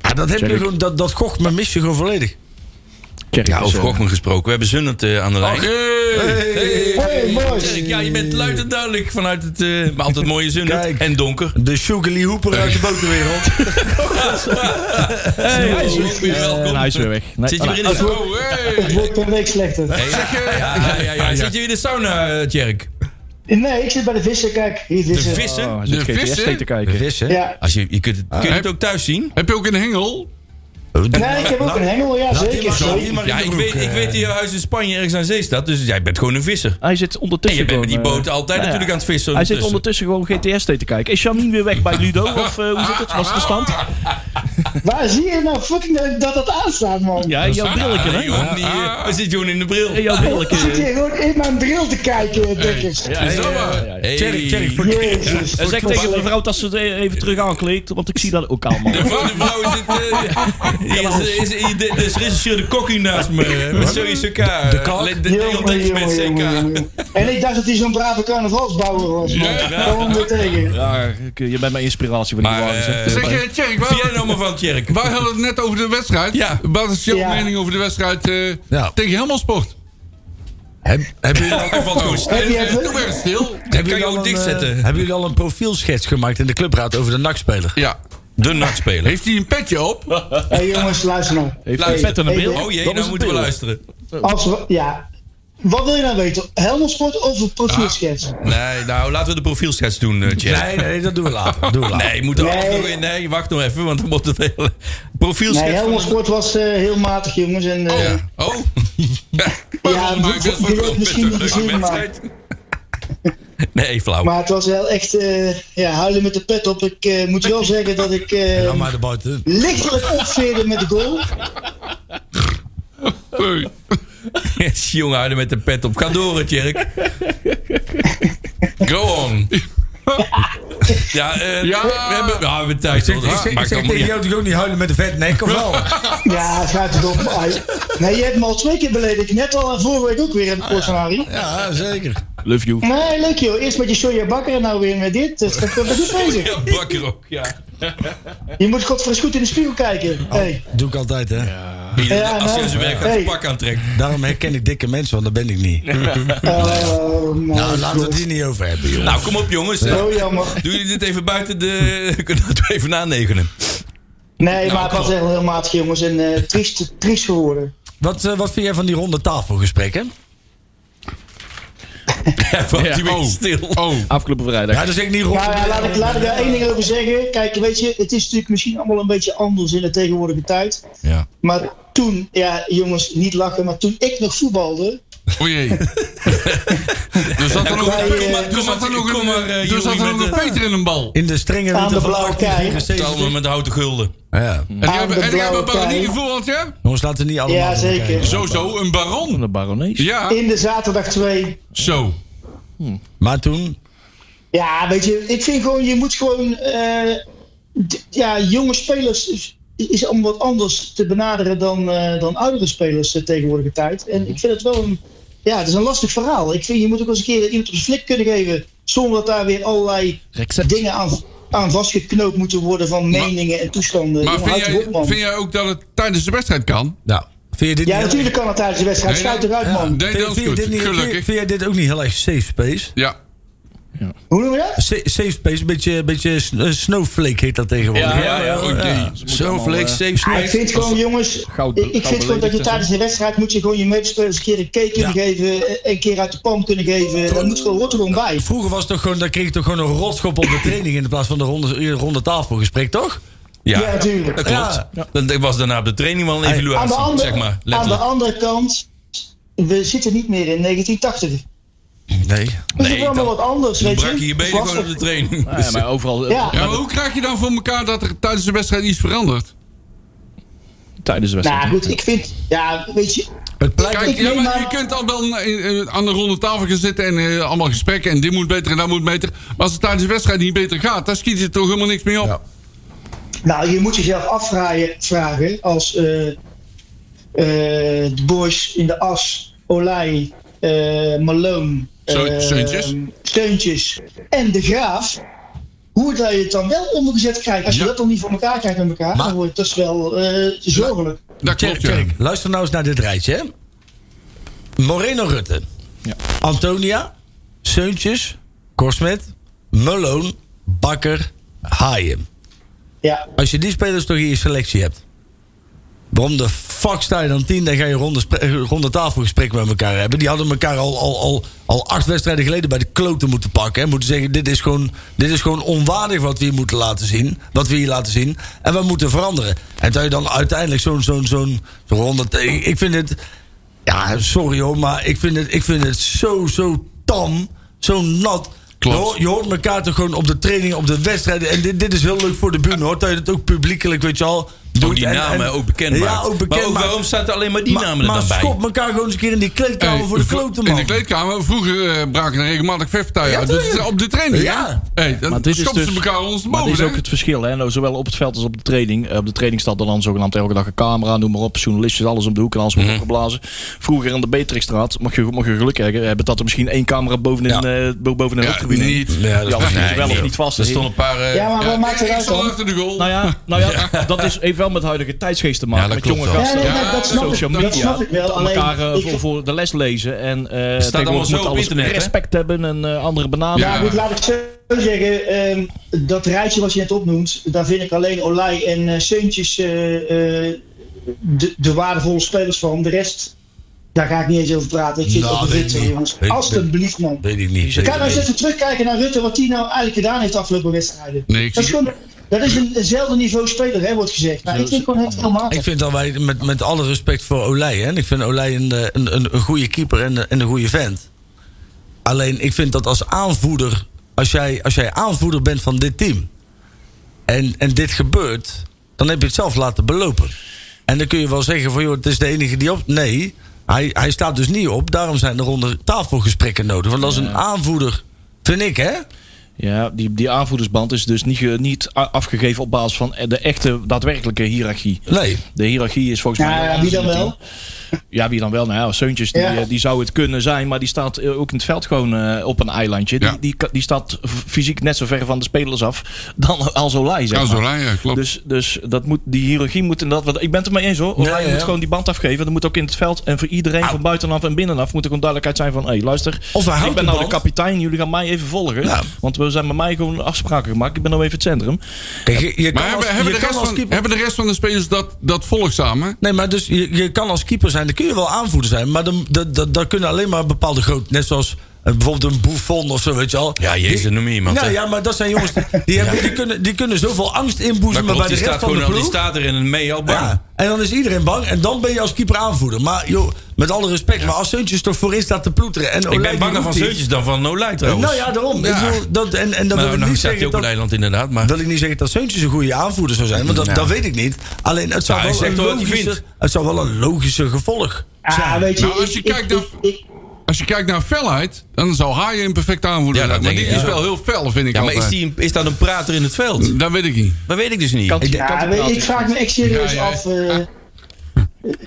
D: ja.
F: dat heb je gewoon, dat, dat gocht me mis je gewoon volledig.
E: Kerk
C: Ja,
E: is,
C: over
E: eh,
C: Gokman gesproken. We hebben Zunnert eh, aan de lijn.
D: Hey.
C: Dirk, Ja, je bent luid en duidelijk vanuit het... eh, maar altijd mooie Zunnert
F: Kijk.
C: en donker.
F: De Sugar Lee Hooper uit de boterwereld.
C: Hey, welkom.
E: en hij is weer weg. Nee,
C: Zit je
E: ah,
C: weer in de sauna?
D: Oh, hey.
H: wordt per week slechter.
C: Hey, ja, ja, ja, ja. Zit je weer in de sauna, eh, Tjerk?
H: Nee, ik zit bij de vissen. Kijk, hier
C: De
H: vissen.
C: vissen?
E: Oh, hij zit
D: De
E: GTS
D: vissen?
E: te kijken.
F: Vissen.
H: Ja.
C: Als je, je kunt, het- kun je het
D: heb-
C: ook thuis zien?
D: Heb je ook een hengel?
H: Nee, ik heb ook een hengel, ja
F: Laat die
H: zeker.
F: maar- laat die
H: zeker.
F: maar in
C: Ja,
F: de
C: ik
F: broek,
C: weet, ik
F: eh.
C: weet dat je huis in Spanje ergens aan zee staat. Dus jij bent gewoon een visser.
E: Hij zit
C: En je
E: ondertussen
C: bent met die
E: gewoon, eh,
C: boot altijd
E: nou ja.
C: natuurlijk aan het vissen.
E: Hij zit
C: ondertussen.
E: ondertussen gewoon GTS te kijken. Is Janine weer weg bij Ludo? Of eh, hoe zit het? Was de stand?
H: Waar zie je nou fucking dat- dat dat aanstaat, man?
E: Ja, jouw brilletje,
C: Ah,
E: hè?
C: joh, die, eh, hij zit gewoon in de bril.
E: Jouw
H: Ik zit
E: brilletje.
H: hier gewoon in mijn bril te kijken, dikkers.
D: Zo maar.
C: Hey.
F: Tjerk, Tjerk, voor-
H: Jezus.
E: En zeg tegen mijn vrouw dat ze het e- even terug aankleedt, want ik zie dat ook allemaal.
C: De vrouw, de vrouw is het. eh, is, is, is, de- de- is regisseur de kokkie naast me. eh, Met Zoe CK. eh,
F: De kok?
C: Le- De Leon
H: Jongen,
C: Dekkers met
H: jongen,
C: CK.
H: jongen, jongen. En ik dacht dat hij zo'n brave carnavalsbouwer was, man. Kom weer tegen.
E: Ja, ik- je bent mijn inspiratie voor die
C: Maar.
E: vrouw.
C: eh,
D: Zeg, eh, Tjerk,
C: Vind jij
D: waar,
C: nou maar van, Tjerk?
D: wij hadden het net over de wedstrijd.
C: Ja.
D: Wat is jouw
H: Ja.
D: mening over de wedstrijd eh,
F: Ja.
D: tegen Helmelsport?
F: Heb, heb jullie,
C: Hij valt gewoon stil.
H: Heb je
D: Eh, Doe
H: even...
D: maar eens stil.
C: Dat
F: jullie
C: kan je
F: al
C: ook
F: een, eh,
C: dichtzetten.
F: hebben jullie al een profielschets gemaakt in de clubraad over de nachtspeler?
D: Ja.
C: De nachtspeler.
D: Heeft hij een petje op?
H: Hé jongens, luister nou.
E: Heeft hij vet aan de bril?
C: Oh jee,
E: Dat is
C: nou
E: een
C: moeten we
E: beeld.
C: luisteren.
H: Als we, ja. Wat wil je nou weten? Helmelsport of een profielschets?
C: Nee, nou laten we de profielschets doen, eh, Tjerk.
F: Nee, nee, dat doen we later. dat Doen we later.
C: Nee, moet er
H: Nee.
C: alles nog in. Nee, wacht nog even, want dan moet het hele profielschets.
H: Nee,
C: van-
H: Helmelsport was eh, heel matig, jongens. En, eh,
D: Ja. Oh.
C: Maar
H: Ja,
C: volgens mij
H: dit-
C: best wel
H: dit
C: een
H: wordt misschien
C: leuke
H: niet gezien,
C: wedstrijd. Nee, flauw.
H: Maar het was wel echt eh, ja, huilen met de pet op. Ik eh, moet wel zeggen dat ik eh,
F: Dan maar de buiten.
H: lichtelijk opveerde met de goal.
D: Hey.
C: Jongen, houden met de pet op. Ga door, hè, Tjerk. Go on. Ja, eh,
D: Ja.
C: we hebben, ja, we hebben tijd. hoor.
F: Ik
C: Dat
F: zeg, ik
C: maakt
F: zeg
C: allemaal niet
F: tegen
C: uit.
F: jou toch ook niet huilen met de vet? Nee, kom wel.
H: Ja, gaat het op. Nee, je hebt me al twee keer beledigd. Net al en vorige week ook weer
F: Oh,
H: in het Porsenari.
F: Ja, zeker.
E: Love you.
H: Nee, leuk joh. Eerst met je soja bakker en nou weer met dit. Dus dat ben ik bezig.
C: Ja, bakker ook. Ja.
H: Je moet godverdomme goed in de spiegel
F: Oh.
H: kijken. Hey.
F: Doe ik altijd, hè.
H: Ja,
C: Als je
H: nou.
C: zijn werk gaat,
H: Hey.
C: zijn pak aantrekt.
F: Daarom herken ik dikke mensen, want dat ben ik niet.
H: Oh, man.
F: Nou, laten we het hier niet over hebben, joh.
C: Nou, kom op, jongens. Doe
H: Zo Oh, jammer.
C: jullie dit even buiten de... Kunnen we het even nanegenen?
H: Nee,
F: Nou,
H: maar het was echt heel matig, jongens. En eh, triest, triest geworden.
F: Wat, eh, wat vind jij van die ronde tafelgesprekken?
C: Ja, valt hij weer
D: Oh.
C: stil.
D: Oh.
E: Afgelopen vrijdag.
F: Ja, dat zeg ik niet rond.
H: Nou ja, laat ik, laat ik daar één ding over zeggen. Kijk, weet je, het is natuurlijk misschien allemaal een beetje anders in de tegenwoordige tijd.
C: Ja.
H: Maar toen, ja, jongens, niet lachen, maar toen ik nog voetbalde.
D: O Oh, jee. Er zat er nog
H: Wij, eh,
D: een- er zat er nog
C: kom maar, eh,
D: een- er
C: Joeri,
D: zat er nog
C: met
D: een
C: de-
D: Peter in een bal.
F: In de strenge
H: Aan
F: winter
H: de
F: van
H: blauwe
F: 1874.
C: Het allemaal met de houten gulden.
F: Ja.
D: En die hebben-
H: de
D: en die hebben
H: blauwe
D: Baronie
H: kei.
D: gevoeld, ja?
F: Jongens, laten we niet allemaal...
H: Ja,
F: door elkaar
H: zeker.
F: heen.
D: Zo, zo, een baron.
E: Van de baronees.
D: Ja,
H: In de zaterdag 2.
D: zo.
F: Maar toen...
H: Ja, weet je, ik vind gewoon, je moet gewoon. eh, d- ja, jonge spelers is- is allemaal wat anders te benaderen dan, eh, dan oudere spelers de tegenwoordige tijd. En ik vind het wel een. Ja, het is een lastig verhaal. Ik vind, je moet ook eens een keer iemand op zijn flik kunnen geven. Zonder dat daar weer allerlei dingen aan, aan vastgeknoopt moeten worden van meningen en toestanden.
D: Maar
H: Jongen,
D: vind
H: houd
D: jij,
H: erop, man.
D: vind jij ook dat het tijdens de wedstrijd kan?
F: Nou, vind je dit
H: Ja,
F: niet-
H: natuurlijk kan het tijdens de wedstrijd.
D: Nee,
H: Schuit
D: nee.
H: eruit, man.
D: Nee,
F: Vind,
D: dat is
F: vind je
D: goed.
F: dit niet, vind,
D: Gelukkig.
F: vind jij dit ook niet heel erg safe space?
D: Ja.
H: Hoe noem je dat?
F: Sa- Safe space, een beetje, een beetje s- eh, snowflake heet dat tegenwoordig.
E: Ja,
D: Ja, ja, oké.
C: Zo eh. vlees, safe
H: Ah, ik vind gewoon, jongens,
E: goud-
H: ik, ik
E: goud
H: vind gewoon dat je
E: beledigd,
H: tijdens de wedstrijd moet je gewoon je medespelers een keer een keer kunnen
F: Ja.
H: geven, eh, een keer uit de pan kunnen geven. Dat moet gewoon, hoort er gewoon bij.
F: Vroeger was het toch gewoon, dan kreeg je toch gewoon een rotschop op de training in plaats van de ronde, eh, ronde tafelgesprek, toch?
C: Ja,
H: Ja, natuurlijk.
C: dat klopt.
F: Ja.
C: Dat dat was daarna op de training wel een
H: Aan de,
C: evaluatie,
H: andere,
C: zeg maar.
H: aan de
C: Letterlijk.
H: andere kant, we zitten niet meer in 1980. Het
F: Nee.
H: is
C: Nee,
H: toch allemaal
C: dan-
H: wat anders,
C: Dan
H: weet je.
C: brak je je benen
H: Vast-
C: gewoon op de training.
E: Nou ja, maar overal eh,
H: Ja.
D: Ja, maar hoe krijg je dan voor elkaar dat er tijdens de wedstrijd iets verandert?
E: tijdens de wedstrijd.
H: Nou goed, ik vind, ja, weet je,
F: Het pleit,
D: Kijk,
H: Ik
D: ja,
H: neem
D: maar
H: aan-
D: je kunt al dan eh, eh, aan de ronde tafel gaan zitten en eh, allemaal gesprekken en dit moet beter en dat moet beter. Maar als het tijdens de wedstrijd niet beter gaat, dan schiet je er toch helemaal niks mee op.
H: Nou, je moet jezelf afvragen vragen als eh, eh, de boys in de as, Olij, eh, Malone,
D: Zo-
H: eh,
D: Steuntjes.
H: Steuntjes en de Graaf, hoe dat je het dan wel ondergezet krijgt. Als
D: Ja.
H: je dat dan niet voor elkaar krijgt met elkaar,
F: Maar-
H: dan wordt dat is wel eh, zorgelijk.
D: Dat klopt, ja. Eh,
F: Kijk, luister nou eens naar dit rijtje. Hè? Moreno Rutte.
E: Ja.
F: Antonia. Seuntjes. Korsmet. Malone. Bakker. Haaien.
H: Ja,
F: Als je die spelers toch in je selectie hebt. Waarom de fuck sta je dan tien? Dan ga je ronde, spre- eh, ronde tafelgesprek met elkaar hebben. Die hadden elkaar al, al, al, al acht wedstrijden geleden bij de kloten moeten pakken. En moeten zeggen, dit is, gewoon, dit is gewoon onwaardig wat we hier moeten laten zien. Wat we hier laten zien. En we moeten veranderen. En dat je dan uiteindelijk zo'n zo'n zo'n zo'n ronde... ta- Ik ik vind het... Ja, sorry hoor, maar ik vind het, ik vind het zo, zo tam. Zo nat.
D: Klopt.
F: Je hoort- Je hoort elkaar toch gewoon op de training, op de wedstrijden. En dit, dit is heel leuk voor de buren hoor. Dat je het ook publiekelijk, weet je al.
C: Door
F: doet
C: die
F: en-
C: namen
F: en-
C: ook bekend
F: Ja,
C: maakt.
F: ook bekend
C: Maar ook
F: maakt.
C: waarom staat er alleen maar die
F: Maar-
C: namen er
F: maar
C: dan bij?
F: schop elkaar gewoon eens een keer in die kleedkamer
D: Hey,
F: voor de
D: vro-
F: klote, man.
D: In de kleedkamer. Vroeger eh, braken er regelmatig vechtpartijen
F: Ja,
D: uit. Dat is
F: tuurlijk.
D: op de training,
F: Ja.
D: ja. Hey, dan
E: Maar dit is
D: schopten
E: dus,
D: ze elkaar
E: maar
D: ons
E: dit
D: boven,
E: is
D: hè?
E: ook het verschil. Hè? Nou, zowel op het veld als op de training. Eh, Op de training staat er dan zogenaamd elke dag een camera, noem maar op. Journalisten, alles om de hoek en alles wordt opgeblazen. Vroeger aan de Beatrixstraat, mocht je, mocht je geluk hebben, eh, hebben dat er misschien één camera bovenin,
F: Ja.
E: eh, bo- boven de
D: Ja,
E: hoofdtribune.
D: niet.
E: Die
F: Ja, dat is
E: alles
F: niet-
E: niet
C: nee,
E: wel
C: niet.
E: of niet vast.
C: Er stonden een paar... eh,
H: ja maar wat maakt het
D: Ik
H: uit
D: stond
H: dan?
D: achter de goal.
E: Nou ja, nou ja, dat is even wel met huidige tijdsgeest te maken.
C: Ja, dat
E: met jonge
C: klopt wel.
H: Ja,
E: gasten.
H: nee,
D: Ja,
H: dat, dat snap
E: social
H: ik, dat
E: media.
H: snap ik wel. Alleen,
E: elkaar eh,
H: ik-
E: voor, voor de les lezen. En eh
C: Staat allemaal
E: tegenwoordig
C: zo
E: moet
C: op
E: alles
C: internet, hè?
E: respect hebben en eh, andere benadering.
D: Ja.
H: Nou, goed, laat ik zo zeggen. ehm, dat rijtje wat je net opnoemt, daar vind ik alleen Olij en eh Seuntjes eh, eh, de, de waardevolle spelers van. De rest, daar ga ik niet eens over praten. Ik vind
F: Nou,
H: het op
F: weet ik
H: Rutte,
F: niet.
H: jongens.
F: Weet-
H: Alsjeblieft, man.
F: Weet ik niet.
H: Ga nou eens even terugkijken naar Rutte, wat hij nou eigenlijk gedaan heeft de afgelopen wedstrijden.
D: Nee, ik
H: dat is
D: zie-
H: gewoon... Dat is een, eenzelfde niveau speler, hè, wordt gezegd. Nou, ik vind gewoon het heel makkelijk.
F: Ik vind dat wij, met, met alle respect voor Olij, hè, en ik vind Olij een, eh, een, een, een goede keeper en, een- en een goede vent. Alleen ik vind dat als aanvoerder, als jij, als jij aanvoerder bent van dit team en, en dit gebeurt, dan heb je het zelf laten belopen. En dan kun je wel zeggen van joh, het is de enige die op. Nee, hij, hij staat dus niet op, daarom zijn er onder tafelgesprekken nodig. Want als een aanvoerder, vind ik hè.
E: Ja, die, die aanvoerdersband is dus niet, ge- niet a- afgegeven op basis van eh, de echte, daadwerkelijke hiërarchie.
F: Nee.
E: De hiërarchie is volgens mij...
H: Nou, ja,
E: anders
H: wie dan
E: in het
H: wel?
E: team. Ja, wie dan wel? Nou ja, Seuntjes, die,
H: Ja.
E: eh, die zou het kunnen zijn, maar die staat eh, ook in het veld gewoon eh, op een eilandje.
D: Ja.
E: Die, die, ka- die staat f- fysiek net zo ver van de spelers af dan als Olij, zeg
D: Ja,
E: maar.
D: zo rij je, klopt.
E: Dus, dus dat moet, die hiërarchie moet inderdaad... want Ik ben het er mee eens hoor. Oranje
F: Ja, ja, ja.
E: moet gewoon die band afgeven. Dat moet ook in het veld. En voor iedereen van buitenaf en binnenaf moet er gewoon duidelijkheid zijn van... Hé, hey, luister,
F: Of hij houdt
E: ik ben
F: die
E: nou de
F: band.
E: kapitein. Jullie gaan mij even volgen.
F: Nou.
E: Want we zijn met mij gewoon afspraken gemaakt. Ik ben nou even het centrum.
F: Kijk, je, je kan
D: Maar
F: als,
D: hebben, hebben,
F: je
D: de
F: kan
D: rest
F: als
D: van,
F: keeper-
D: hebben de rest van de spelers dat, dat volk samen?
F: Nee, maar dus je, je kan als keeper zijn, dan kun je wel aanvoerder zijn. Maar dan, dan, dan, dan kunnen alleen maar bepaalde groot. Net zoals eh, bijvoorbeeld een Buffon of zo, weet je al.
C: Ja, Jezus,
F: Die-
C: noem je eh, iemand,
F: Nou
C: hè?
F: ja, maar dat zijn jongens. Die, hebben, die, kunnen, die kunnen zoveel angst inboezemen.
C: Dat
F: Maar
C: klopt, die
F: bij de rest
C: staat
F: van
C: gewoon
F: de
C: al, die
F: ploeg.
C: staat erin en mee al bang.
F: Ja, en dan is iedereen bang. En dan ben je als keeper aanvoerder. Maar joh, met alle respect. Maar als Seuntjes toch voorin staat te ploeteren. En
C: Ik
F: Olij
C: ben
F: die
C: banger
F: roept
C: van
F: iets.
C: Zeuntjes dan van Olij trouwens.
F: Nou ja, daarom. Ik bedoel, dat, en, en dan
C: Nou,
F: wil ik
C: nou
F: niet
C: staat hij ook
F: zeggen
C: op
F: dat,
C: Nederland inderdaad, maar...
F: wil ik niet zeggen dat Seuntjes een goede aanvoerder zou zijn. Want dat,
C: Nou.
F: dat weet ik niet. Alleen het zou,
C: Nou, hij
F: wel,
C: zegt
F: een
C: wel wat hij
F: logische,
C: vindt.
F: het zou wel een logische gevolg
H: Ah, weet je,
D: Nou, als
H: ik-
D: je
H: ik-
D: kijkt
H: ik-
D: naar-
H: ik-
D: Als je kijkt naar felheid, dan zou Haaien een perfecte aanvoerder
C: Ja, dat
D: zijn. Maar
C: denk ik,
D: dit is
C: ja.
D: wel heel fel, vind ik
C: Ja, maar
D: altijd.
C: is, die, een- is dat een prater in het veld?
D: Dat weet ik niet.
C: Dat weet ik dus niet.
E: Kan-
F: denk-
E: kan
H: Ja,
E: het
H: weet-
E: praten.
H: ik vraag me echt serieus
D: Ja, ja, ja.
H: af. eh,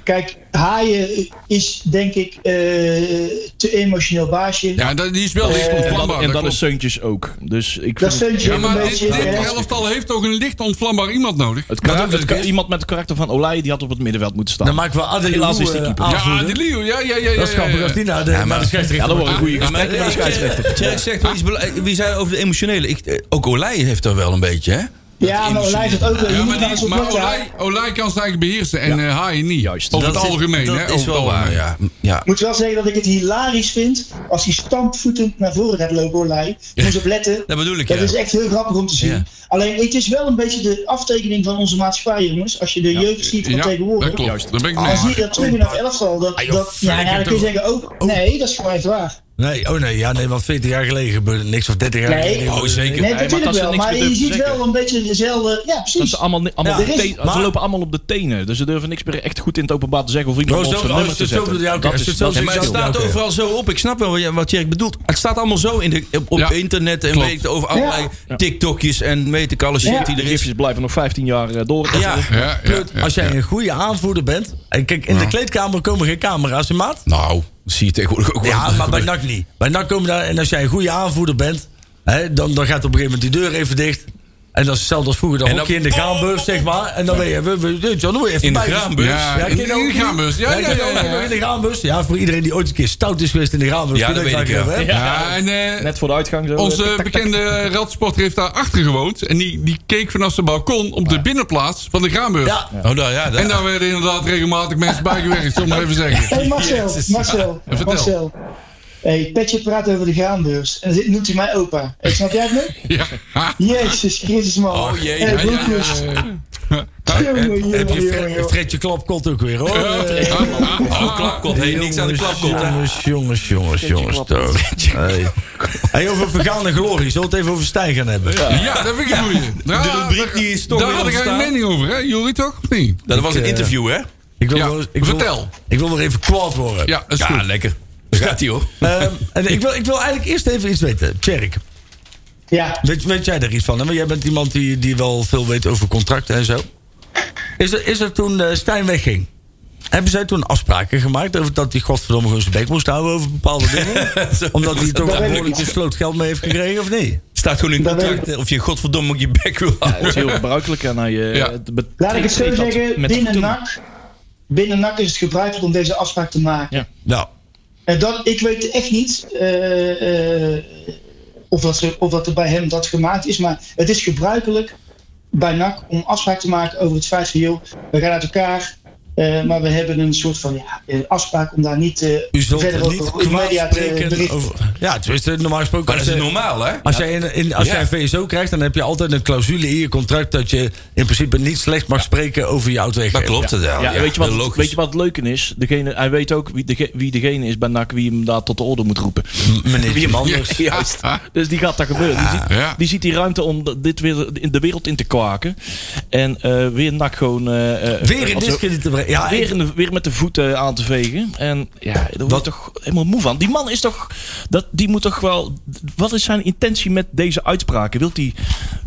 H: Kijk, haaien is denk ik eh, te emotioneel baasje.
D: Ja, dat, die is wel licht
E: En dat,
D: ontvlambaar.
E: en
D: dat
E: dat
D: klopt.
E: is Seuntjes ook. Dus ik
H: Dat
E: vind het-
H: vind je
D: Ja,
H: ook
D: maar
H: een
D: dit,
H: beetje.
D: dit
H: eh,
D: elftal heeft ook een licht ontvlambaar iemand nodig.
E: het kan,
F: Ja,
E: ook- het
F: dat
E: kan-
F: is- Nou,
E: iemand met het karakter van Olij, die had op het middenveld moeten staan.
F: Dan maken we
E: Helaas
F: Adelaide
E: is die keeper.
D: Ja, Adelio, ja, ja, ja. ja,
F: Dat is
D: ja, ja.
F: grappig als die naar de, naar de scheidsrechter
E: ja, dat wordt een goede
C: Ja, maar
E: gesprek.
C: ik-
E: met de scheidsrechter.
C: ik- Tjerk zegt wel iets belangrijks. Wie zei over de emotionele? Ik, eh, ook Olij heeft dat wel een beetje, hè?
H: ja, maar Olij het ook wel. Je
D: Ja,
H: moet
D: maar,
H: naar een
D: die,
H: soort
D: maar
H: plek,
D: Olij,
H: ja.
D: Olij kan zijn eigen beheersen en eh Haaien niet.
E: Juist.
D: Over
C: Dat
D: het
C: is-
D: algemeen, hè.
C: Dat
D: over
C: is
D: het
C: wel waar,
D: algemeen.
C: ja. ja.
H: Ik moet wel zeggen dat ik het hilarisch vind als hij stampvoetend naar voren gaat lopen, Olij. Moet je op letten.
C: Dat bedoel ik,
H: Dat
C: ja.
H: is echt heel grappig om te zien.
C: Ja.
H: Alleen, het is wel een beetje de aftekening van onze maatschappij, jongens. Als je de jeugd ziet van
D: Ja, dat
H: tegenwoordig.
D: klopt. Ah,
E: Juist.
D: Daar ben ik mee
H: Dan zie je
D: eens. Oh.
H: dat terug in dat elftal. Dat, dat, ja, ja, dan kun je zeggen, ook, oh, nee, dat is gewoon echt waar.
F: Nee, oh nee, ja, nee, want 40 jaar geleden gebeurde niks. Of 30 jaar
H: Nee.
F: geleden.
C: Oh, zeker.
H: Nee,
E: maar
H: natuurlijk
E: dat is
H: wel.
E: niks
H: Maar
E: meer
H: je
E: te
H: ziet
E: zeggen.
H: wel een beetje dezelfde... Ja,
E: Dat
H: precies.
E: ze, allemaal, ni- allemaal
H: Ja,
E: de
H: er is-
E: tenen- ze
F: maar-
E: lopen allemaal op de tenen. Dus ze durven niks meer echt goed in het openbaar te zeggen. Of iemand
F: Oh,
E: op
F: zo-
E: zijn
F: oh,
E: nummer
F: is
E: te
F: het zo
E: zetten.
F: bedoel je? Ja, oké,
E: Dat
F: is het zo
E: dat
F: bedoel
C: maar
F: je?
C: het
F: Ja,
C: staat
F: oké.
C: overal zo op. Ik snap wel wat Jer- wat Jerk bedoelt. Het staat allemaal zo in de, op, op
D: Ja.
C: internet en
D: Klopt.
C: weet ik, over allerlei
E: Ja.
C: TikTokjes en weet ik alle shit
H: Ja.
C: die
E: Die
C: er is.
E: gifjes blijven nog 15 jaar eh, door.
C: Ja.
D: Ja, ja,
F: Plut,
D: ja,
F: als jij
D: ja.
F: een goede aanvoerder bent. En kijk, in de kleedkamer komen geen camera's, hè, maat.
C: Nou, dat zie je tegenwoordig ook wel.
F: Ja, maar bij NAC niet. Bij NAC komen daar, en als jij een goede aanvoerder bent, hè, dan, dan gaat op een gegeven moment die deur even dicht. En dat is hetzelfde als vroeger, dan
C: En
F: hok je in
C: dan-
F: de graanbeurs, zeg maar. En dan ben je, we, we, John, dan word je even
C: In de
F: bij.
C: graanbeurs?
D: Ja, in-
F: ken je dat
D: in de
F: ook niet?
D: graanbeurs. Ja, ja,
F: ken je
D: ja,
F: dat ook
D: ja,
F: nog
D: ja.
F: in de graanbeurs. Ja, voor iedereen die ooit een keer stout is geweest in de graanbeurs.
C: Ja,
F: kun je
C: dat weet
F: daar
C: ik,
F: even, hè?
D: Ja, en eh,
E: Net voor de uitgang. Zo, eh,
D: onze
E: tak, tak, tak.
D: bekende radsporter heeft daar achter gewoond. En die, die keek vanaf zijn balkon op de binnenplaats van de Graanburg.
F: Ja.
C: Oh, nou ja, dat,
D: En daar werden inderdaad regelmatig mensen bijgewerkt, zullen we maar even zeggen.
H: Hey Marcel, Marcel,
D: vertel.
H: Marcel. Hey, Petje praat over de graanbeurs. En dit noemt hij mij opa. Hey, snap jij het nu?
D: Ja. Ha.
H: Jezus Christus, man.
C: Oh, jee,
H: Hey,
C: ja, ja,
H: broekjes. Jongen,
F: Heb
H: jongen,
F: je Fre-
H: jongen.
F: Fredje Klapkot ook weer, hoor. Eh,
D: Ja.
C: Oh, klapkot. Hey, niks aan de
F: Jongens,
C: klapkot. hè.
F: Jongens, jongens, jongens, jongens. toch. Hey. hey, over vergaande glorie. Zullen we het even over Stijn gaan hebben?
D: Ja, dat vind ik een goeie. Nou,
C: De rubriek die is toch
D: Daar
C: weer
D: had ik
C: ontstaan.
D: eigenlijk mening over, hè? Jullie toch? Of niet?
C: Dat was een
F: eh,
C: interview, hè?
F: Ik wil
D: Ja,
F: wel eens- ik wil-
D: vertel.
F: Ik wil nog even kwaad worden.
D: Ja, dat is
C: Ja,
D: goed.
C: lekker. Daar gaat hij, hoor.
F: Ehm, en ik, wil, ik wil eigenlijk eerst even iets weten. Tjerk,
H: Ja,
F: weet, weet jij daar iets van? Hè? Want jij bent iemand die, die wel veel weet over contracten en zo. Is er, is er toen eh, Stijn wegging? Hebben zij toen afspraken gemaakt over dat hij godverdomme gewoon zijn bek moest houden over bepaalde dingen?
C: Zo.
F: Omdat hij toch
H: weet ik
F: een behoorlijke
H: niet.
F: sloot geld mee heeft gekregen, of niet?
C: Staat gewoon in
H: Dat weet
C: contract eh, of je godverdomme op je bek wil
E: Ja, dat
C: houden.
E: is heel gebruikelijk. En hij, eh,
D: Ja.
E: het bet-
H: laat ik het zo
E: treedt dat
H: zeggen.
E: met de
H: Binnen
E: voeten.
H: NAC, binnen NAC is het gebruikelijk om deze afspraak te maken.
F: Nou,
H: En dat, Eh, ik weet echt niet eh, eh, of, dat, er- of dat er bij hem dat gemaakt is. Maar het is gebruikelijk bij NAC om afspraak te maken over het feit van... joh, we gaan uit elkaar, eh, maar we hebben een soort van ja, eh, afspraak om daar niet eh,
F: u zult
H: verder
F: het niet
H: over in de
F: kwaad
H: media eh, te
F: spreken
H: berichten.
F: over... Ja, tenminste, normaal gesproken...
C: Maar
F: als
C: dat is
F: je-
C: normaal, hè?
F: Als, jij, in, in- als
C: Ja.
F: jij VSO krijgt, dan heb je altijd een clausule in je contract... dat je in principe niet slecht mag spreken over je oud
C: Dat klopt, dat wel.
E: Ja, weet, je wat,
C: logisch.
E: weet je wat het leuke is? Degene, hij weet ook wie, dege- wie degene is bij NAC wie hem daar tot de orde moet roepen.
F: Meneer Manders.
D: Ja.
E: Juist.
D: Ja.
E: Dus die gaat dat gebeuren. Die ziet,
D: Ja.
E: die ziet die ruimte om dat- dit weer in de wereld in te kwaken. En eh, weer NAC gewoon... eh, eh,
F: Weer in
E: als-
F: discrediet te brengen. Ja,
E: Weer,
F: ik-
E: in de- weer met de voeten aan te vegen. En ja, daar word je
F: Wat-
E: toch helemaal moe van. Die man is toch... Dat, die moet toch wel... Wat is zijn intentie met deze uitspraken? Wilt hij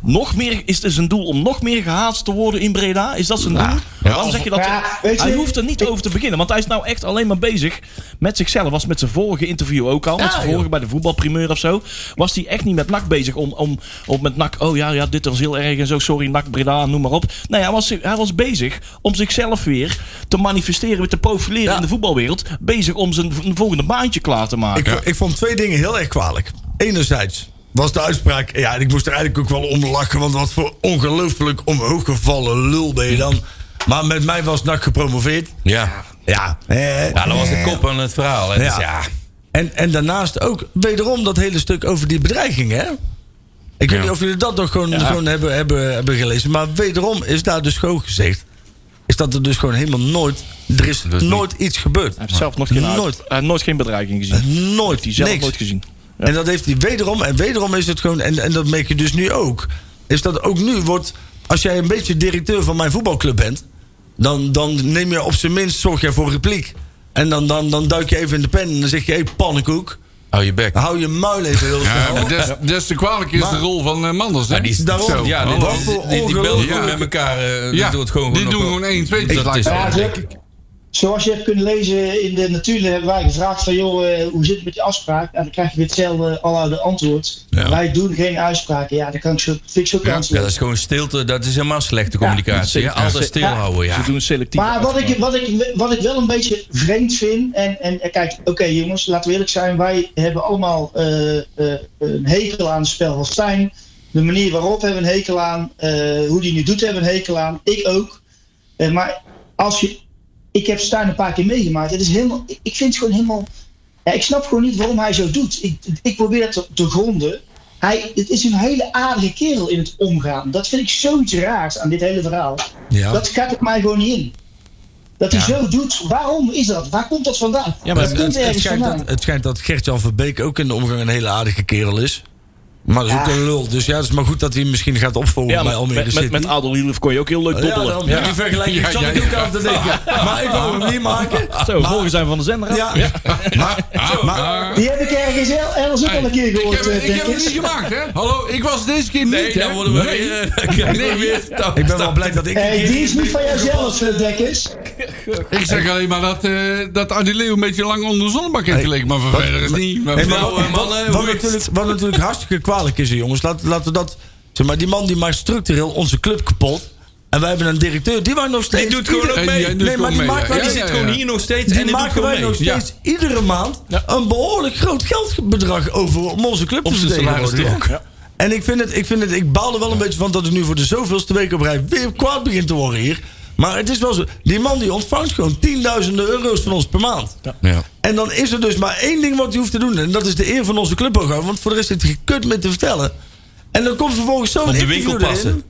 E: nog meer... Is het zijn doel om nog meer gehaat te worden in Breda? Is dat zijn doel? Waarom zeg je dat?
H: Ja, weet je-
E: hij hoeft er niet over te beginnen. Want hij is nou echt alleen maar bezig met zichzelf. Was met zijn vorige interview ook al.
H: Ah,
E: met zijn vorige bij de voetbalprimeur of zo. Was hij echt niet met NAC bezig. Om, om, om met NAC... Oh ja, ja, dit was heel erg en zo. Sorry, NAC, Breda, noem maar op. Nee, hij was, hij was bezig om zichzelf weer te manifesteren. Te profileren
F: Ja.
E: in de voetbalwereld. Bezig om zijn v- volgende baantje klaar te maken.
F: ik, vo- ik vond twee dingen heel erg kwalijk. Enerzijds was de uitspraak... Ja, en ik moest er eigenlijk ook wel om lachen... want wat voor ongelooflijk omhooggevallen lul ben je dan. Maar met mij was NAC gepromoveerd.
C: Ja.
F: Ja.
C: ja, dat was de kop aan het verhaal. Hè. Dus ja.
F: En, en daarnaast ook wederom dat hele stuk over die bedreiging, hè? Ik weet
C: Ja.
F: niet of jullie dat nog gewoon, gewoon hebben, hebben, hebben gelezen. Maar wederom is daar dus gewoon gezegd... is dat er dus gewoon helemaal nooit... er is
C: Dus niet-
F: nooit iets gebeurd.
E: Hij heeft zelf nog geen,
F: Nooit.
E: Hij heeft nooit geen bedreiging gezien.
F: Nooit.
E: Die zelf
F: niks.
E: nooit gezien. Ja.
F: En dat heeft hij wederom. En wederom is het gewoon. En, en dat merk je dus nu ook. Is dat ook nu wordt. Als jij een beetje directeur van mijn voetbalclub bent. Dan, dan neem je op zijn minst. Zorg jij voor repliek. En dan, dan, dan duik je even in de pen. En dan zeg je: hé, hey, pannenkoek.
C: Hou je bek.
F: Hou je muil even heel
D: Ja,
F: snel.
D: maar des, des te kwalijker is de
F: Maar-
D: rol van eh, Manders, hè?
C: Maar die is
F: Daarom.
D: Zo.
C: Ja,
F: Oh,
C: die,
F: wat
C: die-
F: voor
C: die, die, bellen
F: ongelooflijk.
C: gewoon met elkaar. eh,
D: Ja,
C: die doet gewoon
D: die
C: nog
D: doen
C: wel-
D: gewoon één, twee,
C: Dat
D: laat
C: is
D: ik
H: Ja,
C: denk
H: zo-
C: ik.
H: Zoals je hebt kunnen lezen in de natuur hebben wij gevraagd van joh, eh, hoe zit het met die afspraak? En dan krijg je weer hetzelfde aloude antwoord. Wij doen geen uitspraken. Ja, dat kan ik zo, vind ik zo kansloos.
C: Ja, dat is gewoon stilte. Dat is helemaal slechte communicatie.
E: dat
C: hè.
E: is-
C: Altijd stilhouden, ja.
E: Ze doen selectief.
H: Maar wat ik, wat, ik, wat ik wel een beetje vreemd vind. En, en eh, kijk, oké jongens, laten we eerlijk zijn. Wij hebben allemaal eh, eh, een hekel aan het spel van Stijn. De manier waarop hebben we een hekel aan. eh, hoe die nu doet hebben we een hekel aan. Ik ook. Eh, maar als je. Ik heb Stijn een paar keer meegemaakt. Het is helemaal, ik- ik vind het gewoon helemaal. Ja, ik snap gewoon niet waarom hij zo doet. Ik, ik probeer het te, te gronden. Hij, het is een hele aardige kerel in het omgaan. Dat vind ik zoiets raars aan dit hele verhaal.
F: Ja.
H: Dat gaat op mij gewoon niet in. Dat hij zo doet. Waarom is dat? Waar komt dat vandaan?
E: Ja, maar
H: dat
F: Het, het,
H: komt
F: het
H: ergens
F: schijnt
H: vandaan.
F: dat, het schijnt dat Gert-Jan Verbeek ook in de omgang een hele aardige kerel is. Maar dat is ook
H: Ja.
F: een lul. Dus ja, het is maar goed dat hij hem misschien gaat opvolgen
E: Ja,
F: bij
E: met,
F: Almere
E: met,
F: City.
E: met, met Adel Hielf kon je ook heel leuk
F: ja,
E: dobbelen.
F: dan, ja. die vergelijking
D: Ja,
F: zat
D: ja,
F: ik ook
D: ja.
F: aan te denken. Maar ik wou hem niet maken.
E: Zo, volgens zijn van de zender af.
F: Ja. Maar, maar,
D: Ah,
H: Die heb ik ergens heel- ergens ook al een keer
D: ik
H: gehoord.
D: heb, het-
H: eh,
D: ik heb
H: denk
D: het
H: ik.
D: niet gemaakt, hè? Hallo, ik was deze keer
C: Nee,
D: niet,
C: dan
D: hè?
C: worden we
D: Nee.
C: weer... eh, krijgen we weer
F: ik ben wel blij dat ik...
H: Eh, die is niet van jouzelf, eh, Dekkers.
D: Ik zeg alleen maar dat, eh dat Adi Leeuw een beetje lang onder de zonnebak heeft gelegen. Maar voor verder is niet. Maar eh,
F: Hey,
D: verder-
F: maar wat,
C: Vrouwen,
F: wat-
C: mannen,
F: wat
C: hoe is
F: natuurlijk, wat natuurlijk hartstikke kwalijk is, hè, jongens. Laat- Laten we dat... Zeg maar, die man die maakt structureel onze club kapot. En wij hebben een directeur, die maakt nog steeds...
C: doet gewoon
F: ieder-
C: ook
D: En
C: mee.
D: jij doet
F: Nee, maar
D: ook
F: die
D: mee,
F: maakt
D: ja.
F: wel-
D: Ja,
F: die
D: ja,
C: zit
D: ja.
C: gewoon hier nog steeds en
F: Die
C: die doet
F: maken
C: gewoon
F: wij
C: mee.
F: nog steeds iedere maand een behoorlijk groot geldbedrag over om onze club
C: Op
F: te
C: zijn salaris
F: vertegenwoordigen.
C: toch? Ja.
F: En ik vind het, ik vind het, ik baal er wel een beetje van dat ik nu voor de zoveelste week op rij weer kwaad begint te worden hier. Maar het is wel zo, die man die ontvangt gewoon tienduizenden euro's van ons per maand.
C: Ja.
F: En dan is er dus maar één ding wat hij hoeft te doen. En dat is de eer van onze club ook. Want voor de rest heeft hij gekut mee te vertellen. En dan komt vervolgens zo'n
C: Op de
F: interview
C: winkel passen.
F: erin.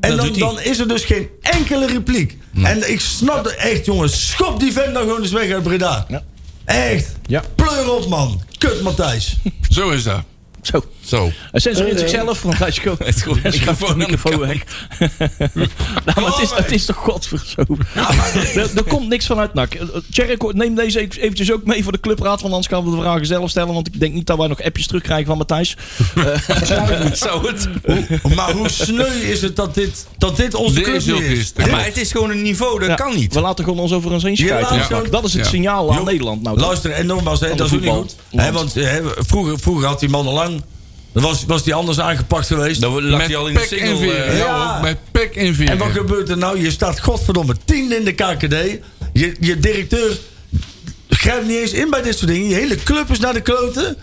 F: En
C: Dat
F: dan,
C: doet hij.
F: dan is er dus geen enkele repliek. En ik snap het echt, jongens. Schop die vent dan gewoon eens weg uit Breda.
E: Ja.
F: Echt.
E: Ja.
F: Pleur op, man. Kut, Matthijs.
D: Zo is dat.
E: Zo.
D: Zo.
E: Hij censureert zichzelf, want hij is gewoon...
C: Het is gewoon
E: hij is gewoon
C: microfoon aan de
E: microfoon
C: kant.
E: weg. nou, maar het is, het is toch godverdomme. er, er komt niks vanuit NAC. Eh, Tjerk, neem deze even- eventjes ook mee voor de clubraad. Want anders gaan we de vragen zelf stellen. Want ik denk niet dat wij nog appjes terugkrijgen van Matthijs.
C: Zou het...
F: maar hoe sneu is het dat dit, dat dit onze
D: Dit
F: club
D: is heel
F: niet is.
D: triest.
C: Maar het is gewoon een niveau, dat
E: Ja,
C: kan niet.
E: We laten gewoon ons over ons heen schrijven.
F: laat
E: Ja,
F: gewoon-
E: Dat is het
D: Ja.
E: signaal aan
F: Jo,
E: Nederland. Nou, toch?
F: Luister, en nogmaals, hè,
E: Van
F: dat is
E: de
F: ook niet goed. Hè, want hè, vroeger, vroeger had die man al lang... Was, was die anders aangepakt geweest.
C: Dan lag hij al in de
D: Pek en
C: single.
D: veer.
C: eh,
F: ja.
D: Ja, hoor, met pek en veer.
F: En wat gebeurt er nou? Je staat godverdomme tiende in de KKD. Je, je directeur grijpt niet eens in bij dit soort dingen. Je hele club is naar de kloten.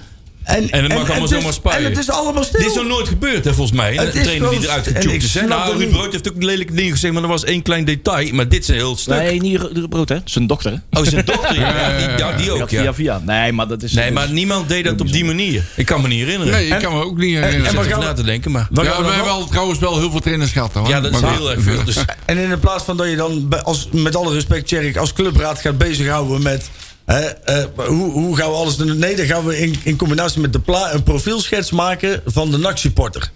F: En,
C: het mag allemaal
F: het is-
C: zomaar spuien.
F: En het is allemaal stil.
C: Dit is nog nooit gebeurd, hè, volgens mij.
F: Het
C: Een
F: is
C: trainer die
F: gewoon-
C: eruit
F: en ik
C: getuned is. hè.
F: snap
C: Nou,
F: dat
C: Ruud
F: niet.
C: Brood heeft ook lelijke dingen gezegd, maar dat was één klein detail. Maar dit is een heel stuk.
E: Nee, niet Ru- Ru- Brood, hè? Zijn dochter. hè?
C: Oh, zijn dochter, ja. ja, die, ja, die ook,
E: via,
C: ja.
E: via. Nee, maar dat is.
C: Nee, maar niemand deed dat op die manier. Ik kan me niet herinneren.
D: Nee, ik kan me ook niet
C: Ik
D: herinneren.
C: zit
F: wat
C: even
F: gaan we-
C: na te denken, maar...
F: Wat gaan
D: Ja,
F: we
D: we
F: dan
D: hebben
F: doen?
D: wel, trouwens wel heel veel trainers gehad. Hoor.
C: Ja, dat is
D: Maar-
C: heel erg veel. Dus
F: En in plaats van dat je dan, bij- als, met alle respect, Tjerk, als clubraad gaat bezighouden met. hè, eh, hoe, hoe gaan we alles doen? Nee, dan gaan we in, in combinatie met de pla een profielschets maken van de NAC-supporter.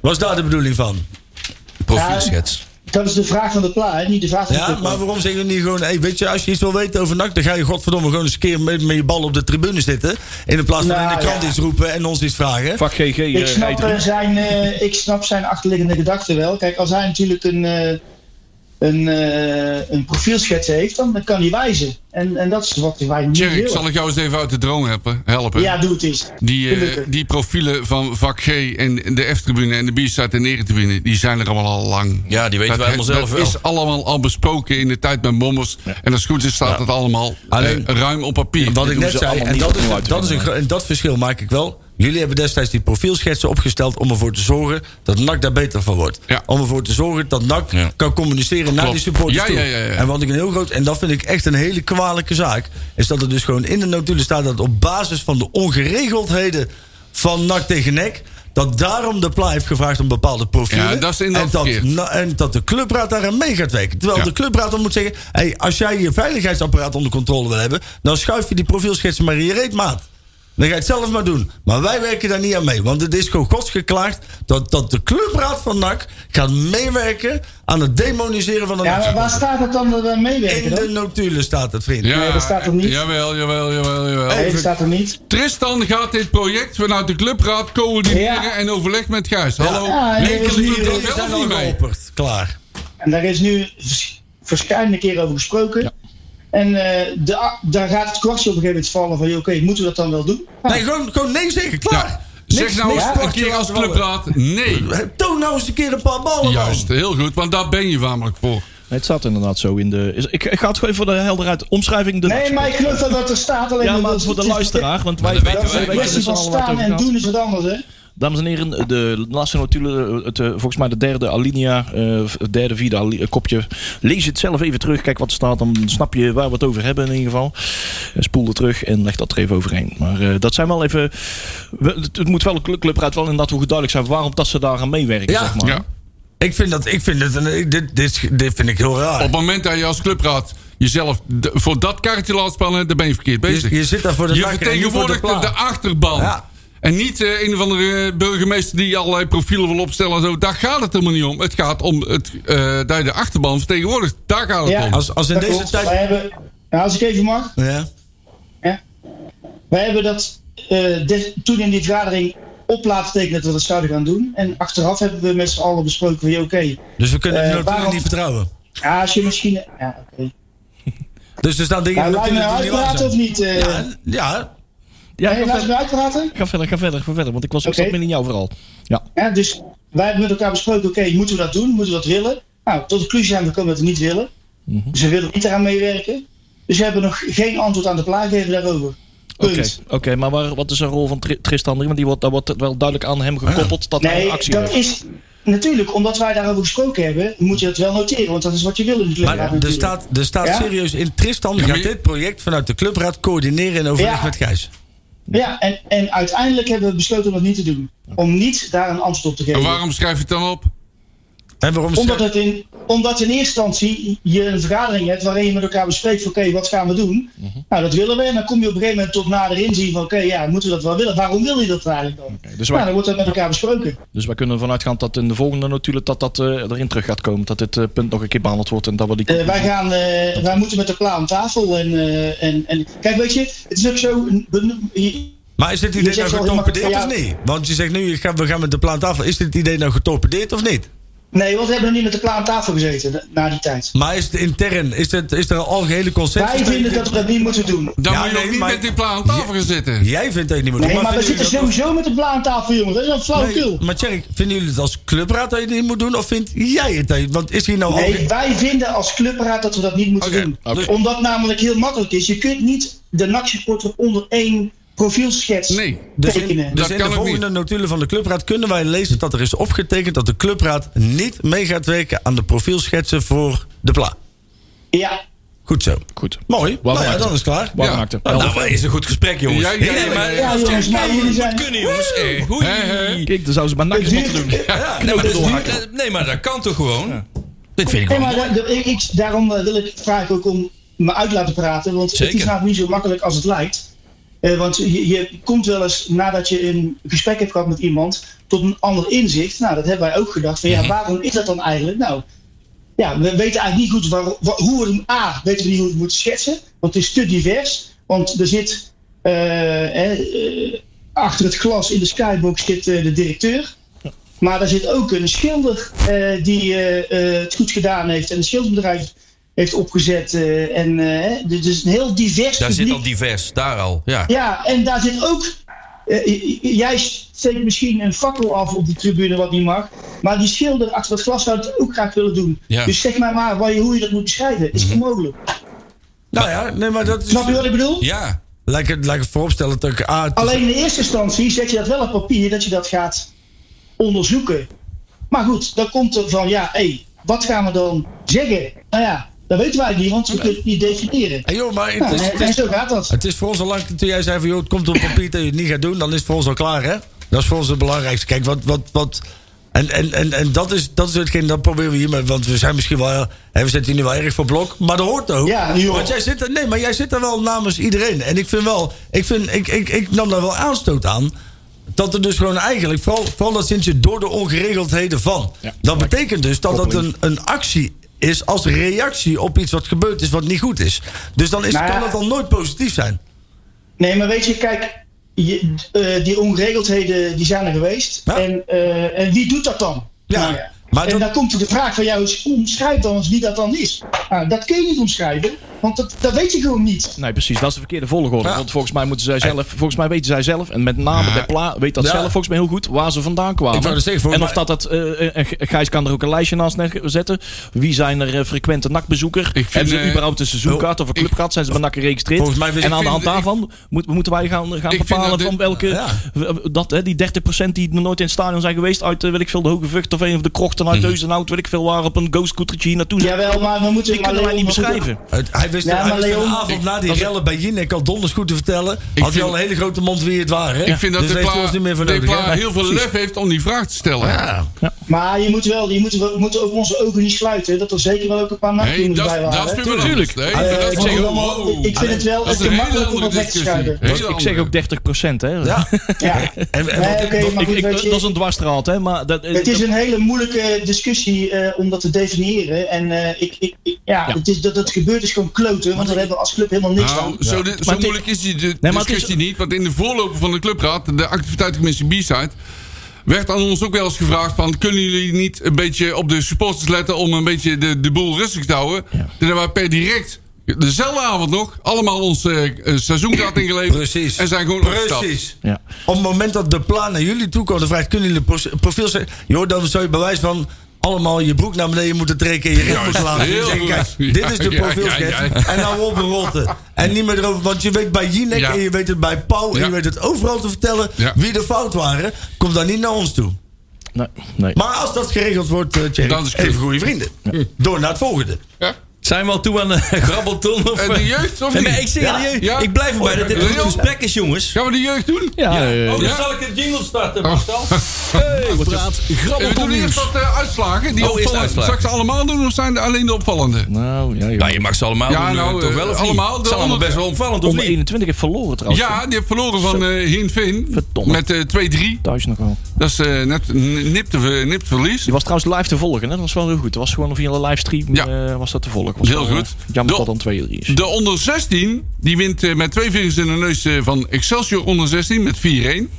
F: Was daar de bedoeling van?
C: Profielschets.
H: Dat is de vraag van de pla, hè? niet de vraag van de
F: Ja,
H: club.
F: maar waarom zeggen we niet gewoon... Hey, weet je, als je iets wil weten over NAC... dan ga je godverdomme gewoon eens een keer met, met je bal op de tribune zitten... in de plaats van
H: Nou,
F: in de krant
H: ja.
F: iets roepen en ons iets vragen.
E: Vak GG. eh,
H: ik, snap,
E: rijdt
H: eh,
E: Ru-
H: zijn, eh, ik snap zijn achterliggende gedachten wel. Kijk, als hij natuurlijk een, eh, een, eh, een profielschets heeft, dan, dan kan hij wijzen. En, en dat is wat wij niet
D: Jerry,
H: willen.
D: zal ik jou eens even uit de droom helpen? helpen?
H: Ja, doe het eens.
D: Die, eh,
H: Gelukkig.
D: die profielen van vak G en de F-tribune en de B-side en de E-tribune... die zijn er allemaal al lang.
C: Ja, die weten
D: dat,
C: wij allemaal zelf
D: dat
C: wel.
D: is allemaal al besproken in de tijd met bommers. En als het goed is staat het allemaal
F: Alleen-
D: eh, ruim op papier.
F: Wat ik
E: doen
F: net
E: ze
F: zei,
E: allemaal
F: en
E: niet
F: dat, is,
E: opnieuw uit te
F: dat, is een,
E: vinden.
F: gro- en dat verschil maak ik wel. Jullie hebben destijds die profielschetsen opgesteld... om ervoor te zorgen dat NAC daar beter van wordt.
D: Ja.
F: Om ervoor te zorgen dat NAC
C: Ja.
F: kan communiceren naar die supporters
D: Ja,
F: toe.
D: ja, ja, ja.
F: En wat ik een heel groot... En dat vind ik echt een hele kwalijke zaak... is dat er dus gewoon in de notulen staat... dat op basis van de ongeregeldheden van NAC tegen NEC... dat daarom de PLA heeft gevraagd om bepaalde profielen.
D: Ja, dat is inderdaad
F: en, dat,
D: verkeerd.
F: na- Nou, en dat de clubraad daar aan mee gaat werken. Terwijl
D: Ja.
F: de clubraad dan moet zeggen... Hey, als jij je veiligheidsapparaat onder controle wil hebben... dan schuif je die profielschetsen maar in je reetmaat. Dan ga je het zelf maar doen. Maar wij werken daar niet aan mee. Want het is gewoon godsgeklaagd dat, dat de clubraad van NAC... gaat meewerken aan het demoniseren van de
H: Ja,
F: NAC.
H: maar waar staat het dan dat wij meewerken?
F: In de
H: dan?
F: notulen staat het, vriend.
D: Ja,
H: Nee, dat staat er niet.
D: Jawel, jawel, jawel. jawel.
H: Nee, dat staat er niet.
D: Tristan gaat dit project vanuit de clubraad coördineren
H: Ja.
D: en overleg met Gijs. Hallo,
H: Ja, en er is
D: winkelen
H: nu-
D: hier
H: er
D: dat
H: is
D: wel of niet mee?
F: Geopperd. Klaar.
H: En daar is nu vers- verschillende keren over gesproken. En eh, de, a- daar gaat het kwartje op een gegeven moment vallen van... joh, oké, moeten we dat dan wel doen? Nou,
F: Nee, gewoon, gewoon nee zeggen. Klaar.
D: Ja. Zeg
F: Niks-
D: nou
F: niks
D: eens een
F: sportje
D: keer als
F: laten vallen.
D: clubraad, nee.
F: Toon nou eens een keer een paar ballen, man.
D: Juist, heel goed, want daar ben je namelijk voor.
E: Nee, het staat inderdaad zo in de. is- Ik, ik ga het gewoon even voor de helderheid. Omschrijving. De
H: nee, maar ik geloof dat dat er staat. Alleen
E: Ja,
H: dat-
E: maar
H: dat-
E: voor de
H: het is-
E: luisteraar. Want wij
C: dat
E: wij-
H: Dat
C: weten
H: is een
E: wij
H: kwestie
E: weten
H: van
E: er allemaal wat
H: staan
E: over
H: en
E: gaat.
H: doen is wat anders, hè?
E: Dames en heren, eh, de laatste notulen, het, eh, volgens mij de derde alinea, eh, het derde, vierde ali- eh, kopje. Lees het zelf even terug, kijk wat er staat, dan snap je waar we het over hebben in ieder geval. Eh, Spoel er terug en leg dat er even overheen. Maar eh, dat zijn wel even, we- het, het moet wel een cl- clubraad wel inderdaad hoe duidelijk zijn waarom dat ze daar aan meewerken,
F: Ja.
E: zeg maar.
D: Ja.
F: Ik vind dat, ik vind dat, een- ik- dit, dit, dit vind ik heel raar.
D: Op het moment dat je als clubraad jezelf d- voor dat kaartje laat spannen, dan ben je verkeerd bezig.
F: Je, je zit daar voor de
D: Je
F: nakker en niet voor
D: vertegenwoordigt de,
F: de plaat.
D: achterban.
F: Ja.
D: En niet eh, een of andere burgemeester die allerlei profielen wil opstellen. En zo. Daar gaat het helemaal niet om. Het gaat om het, eh, dat je de achterban vertegenwoordigt. Daar gaat het
H: Ja.
D: om.
F: Als, als in
H: Dat
F: deze
H: klopt. Wij
F: tijd...
H: hebben, nou, als ik even mag.
F: Ja.
H: Wij hebben dat eh, des- toen in die vergadering op laten tekenen dat we dat zouden gaan doen. En achteraf hebben we met z'n allen besproken van, ja, oké,
F: Dus we kunnen
H: Eh,
F: de notulen
H: waarom-
F: niet vertrouwen.
H: ja, als je misschien... Ja, oké.
F: Dus er staan dingen
H: Ja,
F: in de
H: laat je me
F: notulen die niet waar
H: uitpraten
F: zijn.
H: of niet? eh?
F: Ja, ja,
E: Ja, ga,
H: nee, laat je
E: verder,
H: me uitpraten?
E: ga verder, ga verder, ga verder. Want ik was op
H: Oké.
E: stap midden in jou vooral.
H: Ja, dus wij hebben met elkaar besproken, oké, moeten we dat doen? Moeten we dat willen? Nou, tot de conclusie zijn we gekomen dat we het niet willen. Dus we willen niet eraan meewerken. Dus we hebben nog geen antwoord aan de plaatgever daarover.
E: Oké,
H: Punt.
E: oké, maar waar, wat is de rol van Tri- Tristan? Want die wordt, daar wordt wel duidelijk aan hem gekoppeld dat hij
H: Nee,
E: een actie
H: dat
E: heeft.
H: is... Natuurlijk, omdat wij daarover gesproken hebben, moet je dat wel noteren. Want dat is wat je wil in de clubraad
F: maar er
H: natuurlijk.
F: staat, er staat
H: Ja?
F: serieus in Tristan gaat dit project vanuit de clubraad coördineren en overleg
H: Ja.
F: met Gijs.
H: Ja, en, en uiteindelijk hebben we besloten om dat niet te doen. Om niet daar een antwoord op te geven.
D: En waarom schrijf je het dan op?
F: En waarom
H: Omdat, het in, omdat in eerste instantie je een vergadering hebt waarin je met elkaar bespreekt van oké, wat gaan we doen? Nou, dat willen we. En dan kom je op een gegeven moment tot nader inzien van oké, ja, moeten we dat wel willen? Waarom wil je dat eigenlijk dan?
E: Dus
H: Nou,
E: wij,
H: dan wordt dat met elkaar besproken.
E: dus wij kunnen ervan uitgaan dat in de volgende natuurlijk dat, dat eh, erin terug gaat komen. Dat dit eh, punt nog een keer behandeld wordt en dat we die...
H: Eh, wij, gaan, eh, wij moeten met elkaar aan tafel. En, eh, en, en kijk, weet je, het is ook zo. beno- je-
F: Maar is dit
H: Je
F: idee
H: zegt
F: nou
H: wel heel
F: getorpedeerd of
H: makkelijk,
F: niet? Want je zegt nu, je gaat- we gaan met de plaat af. Is dit idee nou getorpedeerd of niet?
H: Nee, want we hebben nog niet met elkaar aan tafel gezeten na die tijd.
F: Maar is het intern, is, het, is er een algehele consensus?
H: Wij vinden dat we dat niet moeten doen.
D: Dan
F: Ja,
D: moet je
F: nee,
D: ook niet
F: maar-
D: met die plaat aan tafel gaan zitten.
F: Jij vindt het niet moet doen.
H: Nee, maar we
F: vinden
H: zitten
F: jullie dat-
H: sowieso met de blaam aan tafel, jongen. Dat is een flauwekul.
F: Nee, maar Tjerk, vinden jullie het als clubraad dat je dit niet moet doen? Of vind jij het? dat je- Want is hier nou
H: Nee,
F: alge-
H: wij vinden als clubraad dat we dat niet moeten
D: Oké,
H: doen.
E: oké.
H: Omdat namelijk heel makkelijk is. Je kunt niet de NAC-supporter onder één profielschets
D: Nee.
F: Dus in,
H: tekenen.
F: dus
D: Dat
F: in
D: kan
F: de
D: ook
F: volgende notulen van de clubraad kunnen wij lezen dat er is opgetekend dat de clubraad niet mee gaat werken aan de profielschetsen voor de pla.
H: Ja,
F: Goed zo.
E: Goed.
F: Mooi.
E: Waarom
F: nou ja,
E: maakt
F: dan is het klaar.
E: Waarom
D: Ja.
E: maakt het?
C: Nou, nou, wat is een goed gesprek, jongens.
D: Ja, ja,
C: Nee,
D: ja,
C: maar-
D: ja,
H: ja jongens, maar jullie zijn...
C: Kunnen jongens, eh, goeie.
D: Hè, hè?
E: Kijk, dan zouden ze maar nakjes
H: Het duurt-
E: moeten doen.
C: Ja, nee, maar dat is niet- eh, nee, maar dat kan toch gewoon? Dit vind ik
H: Nee,
C: wel.
H: maar da- da- ik, ik- daarom eh, wil ik vraag ook om me uit laten praten. Want het
C: Zeker.
H: is namelijk niet zo makkelijk als het lijkt. Eh, want je, je komt wel eens nadat je een gesprek hebt gehad met iemand tot een ander inzicht. Nou, dat hebben wij ook gedacht. Van, ja, waarom is dat dan eigenlijk? Nou, ja, we weten eigenlijk niet goed waar, wa- hoe we hem A, weten we niet hoe we het moeten schetsen. Want het is te divers. Want er zit eh, hè, eh, achter het glas in de skybox zit eh, de directeur. Maar daar zit ook een schilder eh, die eh, eh, het goed gedaan heeft en een schilderbedrijf heeft opgezet. eh, en eh, hè, dus het is een heel divers
C: Daar zit
H: publiek.
C: al divers, daar al. Ja.
H: Ja, en daar zit ook. eh, j- j- jij steekt misschien een fakkel af op de tribune wat niet mag. Maar die schilder achter het glas zou het ook graag willen doen.
C: Ja. Mhm.
H: Dus zeg mij maar waar je, hoe je dat moet beschrijven. Is onmogelijk.
F: Nou ja, nee, maar dat is...
H: Snap je wat ik bedoel?
C: Ja.
F: Laat ik, laat ik vooropstellen dat ik... Ah, het is-
H: Alleen in de eerste instantie zet je dat wel op papier dat je dat gaat onderzoeken. Maar goed, dan komt er van ja, hé, wat gaan we dan zeggen? Nou ja, dat weten wij niet, want we kunnen het niet definiëren.
F: Hey, joh, maar het
H: Nou,
F: is,
H: en,
F: het,
H: en
F: is,
H: zo gaat dat.
F: het is voor ons al lang... Toen jij zei van, joh, het komt op papier dat je het niet gaat doen, dan is het voor ons al klaar, hè? Dat is voor ons het belangrijkste. Kijk, wat... wat, wat en, en, en, en dat is, dat is hetgeen, dat proberen we hiermee. Want we zijn misschien wel, hè, we zitten hier nu wel erg voor blok. Maar dat hoort ook.
H: Ja, joh.
F: Want jij zit er, nee, maar jij zit er wel namens iedereen. En ik vind wel, ik, vind, ik, ik, ik nam daar wel aanstoot aan. Dat er dus gewoon eigenlijk, vooral, vooral dat sinds je door de ongeregeldheden van. dat betekent dus dat dat een, een actie is als reactie op iets wat gebeurd is wat niet goed is. Dus dan is,
H: Nou ja.
F: kan dat dan nooit positief zijn.
H: Nee, maar weet je, kijk, je, eh, die ongeregeldheden die zijn er geweest.
F: Ja.
H: En, eh, en wie doet dat dan?
F: Ja,
H: Nou ja.
F: maar
H: en
F: dat-
H: dan komt er de vraag van jou, omschrijf dan eens wie dat dan is. Nou, dat kun je niet omschrijven, want dat, dat weet je gewoon niet.
E: Nee, precies. Dat is de verkeerde volgorde.
F: Ja.
E: Want volgens mij moeten zij zelf, volgens mij weten zij zelf, en met name de Pla weet dat
F: Ja.
E: zelf volgens mij heel goed, waar ze vandaan kwamen.
F: Ik wou dat zeggen, voor
E: en of
F: mij-
E: dat dat, eh, en G- Gijs kan er ook een lijstje naast ne- zetten. Wie zijn er eh, frequente nakbezoeker?
D: vind,
E: Hebben ze
D: eh,
E: überhaupt een seizoenkaart of een clubkaart? Zijn ze bij NAC geregistreerd?
F: Volgens mij wist-
E: en
F: ik
E: aan de hand
D: vind- ik-
E: daarvan moet- moeten wij gaan, gaan
D: Ik vind
E: bepalen
D: dat dit-
E: van welke,
F: Ja.
E: w- dat, hè, die 30% die nog nooit in het stadion zijn geweest uit, eh, weet ik veel, de Hoge Vught of een of de
D: Mhm.
E: krochten uit Deuzenhout, weet ik veel, waar op een go-scootertje hier naartoe zijn.
H: Jawel, maar we moeten
E: Die
H: hem
E: kunnen wij
H: alleen
E: niet
H: maar-
E: beschrijven.
F: Het- hij wist
H: Ja,
F: hij
H: maar
F: wist de
H: Leon,
F: avond na die
D: dat-
F: rellen bij Jinek al donders goed te vertellen. had hij
D: vind-
F: al een hele grote mond wie het waren. hè?
D: Ik vind dat
F: dus
D: de
F: heeft hij
D: Pla,
F: ons niet meer voor
D: de
F: nodig,
D: Pla
F: hè?
D: heel veel lef heeft om die vraag te stellen.
F: Ja.
H: Maar je moet wel, je moet, we moeten ook onze ogen niet sluiten. Dat er zeker wel ook een paar
D: Nee,
H: nachtjongens
D: dat,
H: bij
D: dat is
H: waren.
D: weer wat
E: Tuurlijk.
D: anders. Nee,
H: Eh,
D: dat
H: ik
D: is
H: zeg
D: weer-
H: wel,
D: wow.
H: ik vind het wel-
D: dat
H: het
D: is een
H: is
D: hele
H: makkelijk om
D: andere
H: dat weg te
D: discussie.
H: schuiven.
D: Hele
E: Ik zeg
D: andere.
E: ook 30 hè.
F: Ja.
H: Ja.
F: En, en
H: Nee,
F: wat-
H: oké, maar
E: Ik,
H: goed,
E: ik,
H: weet
E: dat
H: je,
E: is een dwarsstraat, hè? Maar dat,
H: Het is een hele moeilijke discussie eh, om dat te definiëren. En eh, ik, ik, ik- ja,
E: Ja.
H: Het is, dat het gebeurt is gewoon kloten, want daar hebben we als club helemaal niks
D: Nou,
H: aan.
D: zo, de- zo
E: het is-
D: moeilijk is die de-
E: maar het
D: discussie niet. Want in de voorlopen van de clubraad, de activiteitencommissie B-side... werd aan ons ook wel eens gevraagd van... kunnen jullie niet een beetje op de supporters letten... om een beetje de, de boel rustig te houden? Toen hebben wij per direct... Dezelfde avond nog, allemaal onze eh, seizoenkaart ingeleverd.
F: Precies.
D: En zijn gewoon opgestapt.
F: Precies.
E: Ja.
F: Op het moment dat de plan naar jullie toe komt en vraagt: kunnen jullie pro- profiel zeggen? Joh, dan zou je bewijs van allemaal je broek naar beneden moeten trekken en je rib moeten laten. zien.
D: heel
F: Zeggen,
D: goed.
F: kijk, dit is de
D: Ja,
F: profielschets.
D: ja, ja.
F: En nou op een rotte. En niet meer erover, want je weet bij Jinek
D: Ja.
F: en je weet het bij Pauw en
D: Ja.
F: je weet het overal te vertellen
D: Ja.
F: wie de fout waren. Kom dan niet naar ons toe.
E: Nee, nee.
F: Maar als dat geregeld wordt, eh Thierry,
D: Dan is het
F: even
D: goed.
F: goede vrienden. Door naar het volgende.
D: Ja?
C: Zijn we al toe aan een grabbelton? Of,
D: Eh, de jeugd, of
C: Nee,
D: niet?
C: maar ik zeg aan de jeugd.
D: Ja.
C: Ik blijf erbij dat dit een goed
D: Leon?
C: gesprek is, jongens.
D: Gaan we de jeugd doen?
E: ja, eh,
C: Oh, dan
D: Ja.
C: zal ik het jingle starten,
D: Oh.
C: Marcel.
B: Nakpraat,
D: Eh, We
B: grabbelton
D: doen eerst
B: nieuws.
D: wat eh, uitslagen. Die
C: Oh, eerst
D: opvallende.
C: uitslagen.
D: Zal ik ze allemaal doen of zijn er alleen de opvallende?
E: Nou, ja, joh.
C: Ja, je mag ze allemaal
D: Ja,
C: doen, eh,
D: nou,
C: toch
D: eh,
C: wel of
D: allemaal.
C: niet?
D: De
C: Het is allemaal
D: andere-
C: best wel opvallend, of
E: Onder
C: niet?
E: 21 heeft verloren trouwens.
D: Ja, die heeft verloren van eh Hien Vin.
E: Verdomme.
D: Met eh 2-3.
E: Thuis nog wel.
D: Dat is eh, net n- nipt, ver- nipt verlies.
E: Die was trouwens live te volgen. Hè? Dat was wel heel goed. Dat was gewoon via een livestream
D: Ja.
E: eh, was dat te volgen. Was
D: Heel
E: wel, eh,
D: goed.
E: jammer
D: Doe-
E: dat dan 2-3 is.
D: De onder 16, die wint eh, met twee vingers in de neus eh, van Excelsior onder 16 met 4-1.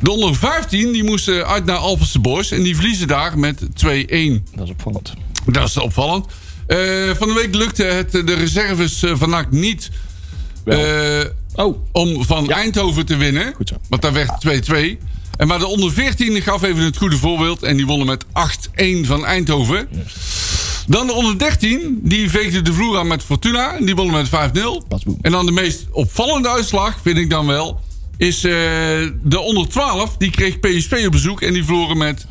D: De onder 15, die moest eh, uit naar Alphense Boys. En die verliezen daar met 2-1.
E: Dat is opvallend.
D: Dat is opvallend. Eh, van de week lukte het eh, de reserves eh, van NAC niet eh,
E: Oh,
D: om van Eindhoven te winnen.
E: Goed zo.
D: Want daar werd 2-2. En maar de onder 14 gaf even het goede voorbeeld. En die wonnen met 8-1 van Eindhoven. Dan de onder 13. Die veegde de vloer aan met Fortuna. En die wonnen met 5-0.
E: is boem.
D: En dan de meest opvallende uitslag, vind ik dan wel. Is eh, de onder 12. Die kreeg PSV op bezoek. En die verloren met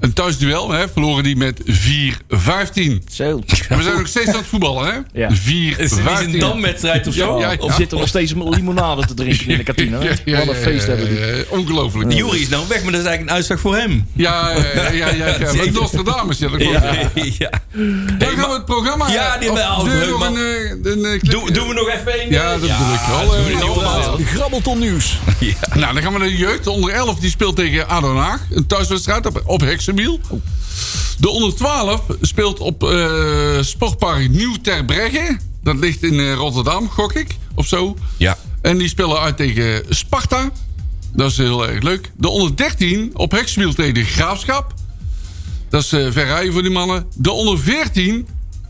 D: een thuisduel. Hè, verloren die met 4-15.
E: zo.
D: En we zijn nog steeds aan het voetballen, hè?
E: Ja.
C: Het is niet
D: 4-15.
C: een damwedstrijd of zo.
D: Ja, ja.
E: Of zitten nog steeds limonade te drinken in de kantine. hè?
D: Ja, ja,
E: Wat een
D: ja,
E: feest
D: ja,
E: hebben die.
D: ja, ja, Ongelooflijk.
C: Jury is nou weg, maar dat is eigenlijk een uitslag voor hem.
D: Ja, ja, ja, ja. ja, ja. Met Nostradamus, ja, dat klopt.
C: Ja.
D: Dan gaan we het programma...
C: Ja, die
D: of
C: hebben we al
D: doen we
C: leuk,
D: nog
C: man.
D: een, eh, een, eh,
C: Doe- Doen we nog even één? eh?
D: Ja, dat bedoel ik wel. eh,
C: doen we niet
D: Ja,
C: allemaal.
B: Grabbelton nieuws.
D: Nou, dan gaan we naar de jeugd. De onder 11 die speelt tegen ADO Den Haag. Een thuiswedstrijd op, op Hexenwiel. De onder 12 speelt op eh, Sportpark Nieuw Terbregge. Dat ligt in eh, Rotterdam, gok ik. Of zo.
C: Ja.
D: En die spelen uit tegen Sparta. Dat is heel erg leuk. De onder 13 op Hexenwiel tegen Graafschap. Dat is eh verrijden voor die mannen. De onder 14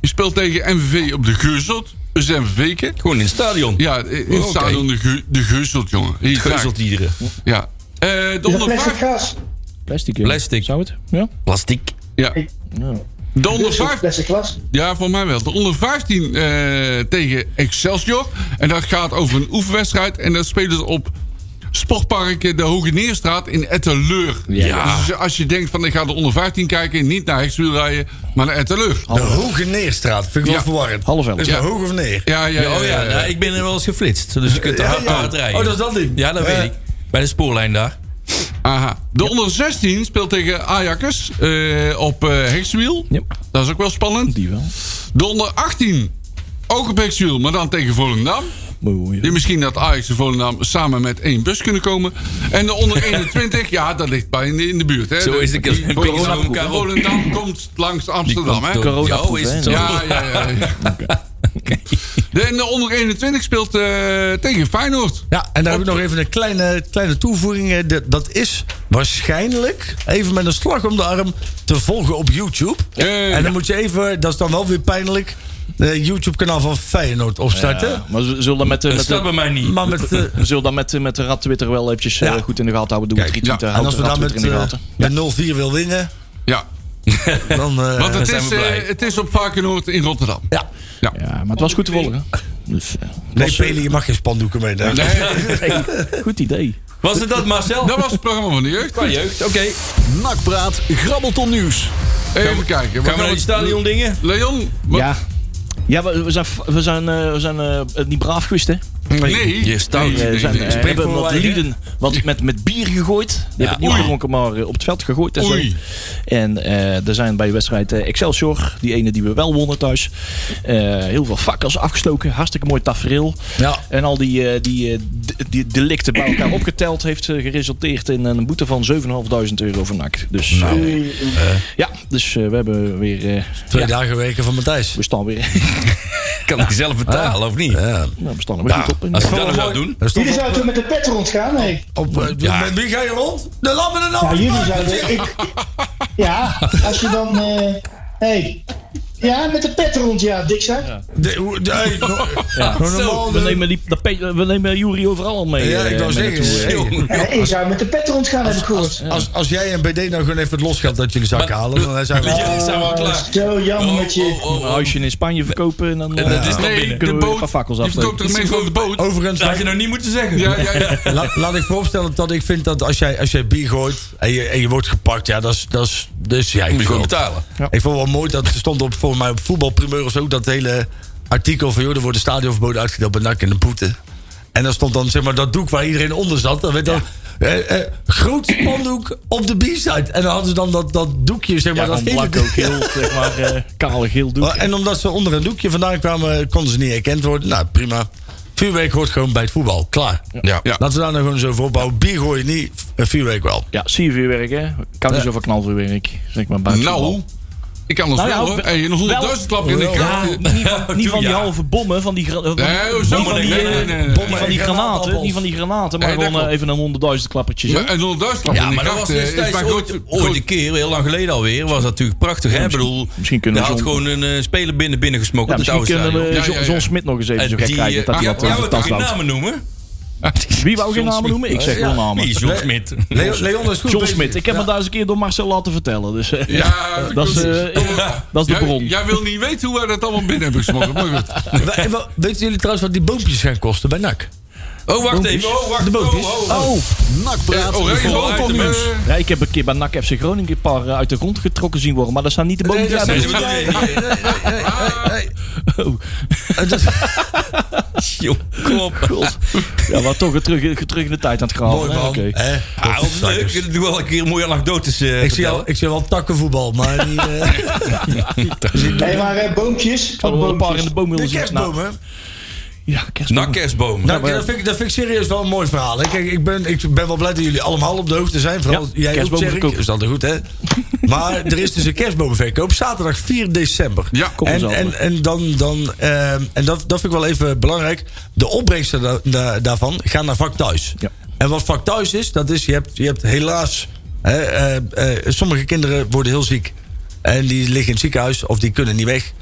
D: die speelt tegen MVV op de Geuzelt. Dus MVV'ken.
C: Gewoon in het stadion.
D: Ja, in het
C: Oké.
D: stadion de, Geu- de Geuzelt, jongen. Hier,
C: Geuzelt iedere.
D: ja. Eh, de,
H: Dat is
D: onder
H: plastic
D: vijf-
H: gas.
E: Plastic. ja.
C: Plastic.
E: Zou het? Ja.
C: Plastic.
D: ja. De onder
H: Dus ook
D: vijf-
H: plastic glas.
D: ja, voor mij wel. De onder 15 eh, tegen Excelsior. En dat gaat over een oefenwedstrijd. En dat spelen ze op Sportpark eh, de Hoge Neerstraat in Etteleur. Ja. Dus als je denkt van ik ga de onder 15 kijken, niet naar Hexwiel rijden, maar naar Etteleur.
F: De Hoge Neerstraat. Vind ik wel
D: Ja.
F: verwarrend. Dus
E: Half elf.
F: Is
D: Ja.
F: dat hoog of neer?
D: Ja, ja, ja.
C: Oh ja, nou, ik ben er wel eens geflitst. Dus je kunt er hard aan het rijden.
F: Oh, dat is dat ding.
C: Ja, dat
F: Eh,
C: weet ik. Bij de spoorlijn daar.
D: Aha. De onder 16 speelt tegen Ajax eh, op eh Hexwiel.
E: Ja.
D: Dat is ook wel spannend.
E: Die wel.
D: De onder 18 ook op Hexwiel, maar dan tegen Volendam.
E: Mooi.
D: Die misschien dat Ajax en Volendam samen met één bus kunnen komen. En de onder 21, ja, dat ligt bij in de, in de buurt. Hè.
C: Zo is de
D: Die
C: camping
D: Volendam-
C: zo elkaar op.
D: Volendam komt langs Amsterdam, hè?
E: door- Corona
C: Ja, oh, is het zo?
D: Ja, ja, ja. ja. De, en de onder 21 speelt eh, tegen Feyenoord.
F: Ja, en daar heb ik nog even een kleine, kleine toevoeging. Eh, de- Dat is waarschijnlijk, even met een slag om de arm, te volgen op YouTube.
D: Eh,
F: en dan moet je even, dat is dan wel weer pijnlijk, de YouTube-kanaal van Feyenoord opstarten.
E: Ja, maar we zullen met, de-
C: Dat
E: met
C: staat bij
E: de,
C: mij niet.
F: Maar met, eh,
E: we zullen dan met, de- met de rat Twitter wel eventjes eh,
F: Ja.
E: goed in de gaten houden. Doen we
D: ja.
E: retweeten,
F: en
E: houden
F: als we
E: de
F: dan
E: rat
F: met,
E: Twitter in de gaten.
F: eh, met 0-4 wil winnen,
D: Ja,
F: dan... eh,
D: want het
C: zijn
D: is,
C: we blij.
D: eh, het is op Varkenoord in Rotterdam.
F: ja.
E: Ja, maar het was goed te volgen. Dus, eh,
F: Nee,
E: was,
F: Peli, je mag geen spandoeken meenemen.
D: Nee,
E: eh, goed idee.
C: Was het dat, Marcel?
D: dat was het programma van de jeugd.
C: Qua jeugd, oké.
B: Nakpraat, grabbelton nieuws.
D: Even kijken.
C: Gaan
D: wat
C: we naar die
D: doen?
C: stadion dingen?
D: Leon, wat-
E: Ja. Ja, we, we zijn, we zijn, eh, we zijn eh, niet braaf geweest, hè?
D: Nee.
C: Je stout.
E: Eh, we zijn, eh,
D: nee.
E: hebben wat
F: eigen.
E: lieden wat met, met bier gegooid. Die hebben het niet gedronken, maar eh, op het veld gegooid. En, zo.
D: Oei.
E: en eh, er zijn bij de wedstrijd eh, Excelsior, die ene die we wel wonnen thuis, eh, heel veel fakkels afgestoken. Hartstikke mooi tafereel.
F: Ja.
E: En al die, eh, die, eh, d- die delicten bij elkaar opgeteld heeft eh, geresulteerd in een boete van 7.500 euro voor NAC. Dus eh, ja, dus eh, we hebben weer... eh,
F: Twee
E: ja,
F: dagen weken van Matthijs.
E: we staan weer,
C: Kan ik zelf betalen of niet?
F: Ja.
E: nou, we staan er weer goed op.
C: Als Ah. ik dat nou zou doen.
F: Dat is toch
H: Jullie zouden toen met de pet rondgaan? Nee.
F: op, eh, Met wie ga je rond? De lammen en
H: Ja,
F: lammen.
H: jullie zouden. Ik, ja, als je dan. eh hey. Ja, met de pet rond, ja, Dick zei.
F: De- hoe- de- hey, no-
E: Ja.
F: Gewoon normaal,
E: We
F: de-
E: nemen, die, dat pe- we nemen Jury overal al mee.
F: Ja,
E: eh,
F: ik wou
E: mee
F: zeggen.
E: naartoe.
F: hey,
H: Eh, ik zou met de pet rondgaan, heb ik gehoord.
F: Als, als jij en BD nou gewoon even het losgeld uit jullie zak halen, dan zijn we...
C: Ja, zijn we al klaar.
H: Zo jammer met
D: oh,
H: je.
E: Een huisje in Spanje verkopen en dan, eh,
C: dat is dan
E: kunnen
D: Nee,
E: we
D: de
E: weer een paar
D: boot.
E: fakkels
D: Je
E: afsteken.
D: verkoopt er meestal de boot.
F: Overigens,
C: Dat had je nou niet moeten zeggen.
D: Ja, ja, ja.
F: laat, laat ik vooropstellen dat ik vind dat als jij, als jij bier gooit en je, en je wordt gepakt, ja, dat is, dat is dus jij
C: Moet je gewoon betalen.
F: Ik vond het wel mooi dat er stond op, volgens mij op voetbalprimeur of zo, dat hele artikel van joh, er worden stadionverboden uitgedeeld bij NAC en de boete. En dan stond dan zeg maar dat doek waar iedereen onder zat. Dan werd dan eh, eh, groot spandoek op de B-side. En dan hadden ze dan dat, dat doekje, zeg maar.
E: Ja,
F: dat
E: dan
F: hele
E: blanco
F: doek.
E: geel, zeg maar, eh, kale geel doek.
F: Maar- Oh, En omdat ze onder een doekje vandaan kwamen, konden ze niet herkend worden. Nou, prima. Vuurwerk hoort gewoon bij het voetbal. Klaar.
C: Ja.
F: Laten we daar nou gewoon zo voor opbouwen. Bier gooien niet, eh, vuurwerk wel.
E: Ja, zie je vuurwerk, hè? Kan niet
F: Ja.
E: zoveel knalvuurwerk, zeg maar, buiten
D: Nou,
E: voetbal.
D: ik kan nog
E: Nou ja,
D: wel hoor.
E: wel-
D: Hey, een 100.000 klap in de
E: Ja,
D: kaart. eh,
E: niet van, niet van die
C: Ja.
E: halve bommen, van die, gra- van,
D: Nee, zo
E: van die,
D: nee,
E: eh,
D: nee, nee, nee.
E: niet van die granaten, niet van die granaten, maar
D: Nee, dat
E: gewoon eh,
D: klopt.
E: even een honderdduizend klappertje.
D: Maar Een 100.000 klap
C: Ja,
D: in de
C: maar dat
D: kaart.
C: was
D: eh, is
C: destijds
D: maar
C: ooit,
D: goed.
C: ooit een keer, heel lang geleden alweer, was dat natuurlijk prachtig. Hè? Ik bedoel,
E: misschien kunnen
C: daar
E: we
C: had
E: zo'n-
C: gewoon een eh, speler binnen binnengesmokt
E: Ja,
C: op het
E: misschien
C: oude
E: kunnen
C: stadion.
E: we
D: Ja, ja,
E: John-
D: ja.
E: John Smit nog eens even
C: En
E: zo gek
C: die,
E: krijgen.
C: eh,
E: Dat hij
D: ja,
E: dat
D: ja,
E: over
C: Gaan
E: de
C: we
E: tas
C: toch geen
E: loopt.
C: namen noemen?
E: Wie wou geen namen noemen? Ik zeg wel
C: Wie
E: namen.
C: is John Smit?
F: Leon, Leon is goed
E: John
F: bezig.
E: Smit. Ik heb me daar eens een keer door Marcel laten vertellen. Dus, eh,
D: Ja,
E: dat, is,
D: goed.
E: eh, dat is de
D: Jij-
E: bron.
D: Jij wil niet weten hoe wij dat allemaal binnen hebben gesmokkeld. Maar goed.
F: We- we- Weten jullie trouwens wat die boompjes gaan kosten bij NAC?
C: Oh, wacht even. Oh, wacht. De oh, oh, oh.
E: Oh,
D: Eh, Oranje
C: Vol
D: rood om,
C: items.
D: eh,
E: ja, ik heb een keer bij NAC FC Groningen een paar eh, uit de grond getrokken zien worden. Maar dat zijn niet de
F: Nee,
E: boven.
F: dat
C: Nee,
F: is-
C: dat bedoel ik niet. Joh, kom op.
E: Ja, maar toch weer terug, terug in de tijd aan het graven.
F: Mooi
E: hè?
F: man.
E: Oh, Oké.
F: Hè?
C: Ah,
F: Dat is
C: wat leuk.
F: leuk.
C: Ik doe wel een keer een mooie anekdotes. eh,
F: dus- Ik zie,
C: vertellen.
F: al, ik zie wel takkenvoetbal, maar niet... eh,
H: Nee, maar eh, boompjes.
E: Hadden we wel een paar in de boom willen
F: de
E: zien. Nou,
F: kerstboom, hè?
E: Ja,
C: Na
E: kerstboom.
C: kerstboom.
F: Nou, dat, vind ik, dat vind ik serieus wel een mooi verhaal. Hè? Kijk, ik ben, ik ben wel blij dat jullie allemaal op de hoogte zijn. Vooral
E: Ja,
F: jij ook,
E: kerstboom
F: Tjerk.
E: verkopen.
F: Is altijd goed, hè? Maar er is dus een kerstboomverkoop. Zaterdag 4 december.
D: Ja, kom
F: en,
E: eens aan,
F: en, en, dan, dan, ehm, en dat, dat vind ik wel even belangrijk. De opbrengsten da- da- daarvan gaan naar vak thuis.
E: Ja.
F: En wat vak thuis is, dat is... Je hebt, je hebt helaas... Hè, eh, eh, sommige kinderen worden heel ziek. En die liggen in het ziekenhuis of die kunnen niet weg.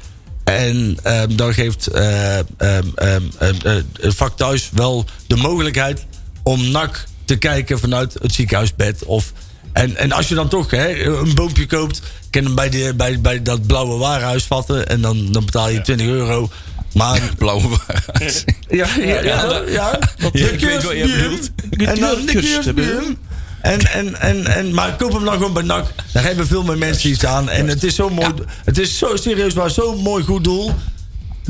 F: En ehm, dan geeft eh, ehm, ehm, ehm, eh, het vak thuis wel de mogelijkheid om nak te kijken vanuit het ziekenhuisbed. Of, en, en als je dan toch hè, een boompje koopt, kan je hem bij, de, bij, bij dat blauwe warenhuis vatten. En dan, dan betaal je 20 euro. Maar
C: Blauwe wagens.
F: ja, ja, ja. ja,
C: Ja, ik weet wat je bedoelt.
F: En dan de
E: Kust hebben.
F: kerstbier. En, en, en, en, maar koop hem dan gewoon bij NAC. Daar hebben veel meer mensen iets aan. En het is zo mooi. Het is zo serieus, maar zo'n mooi goed doel.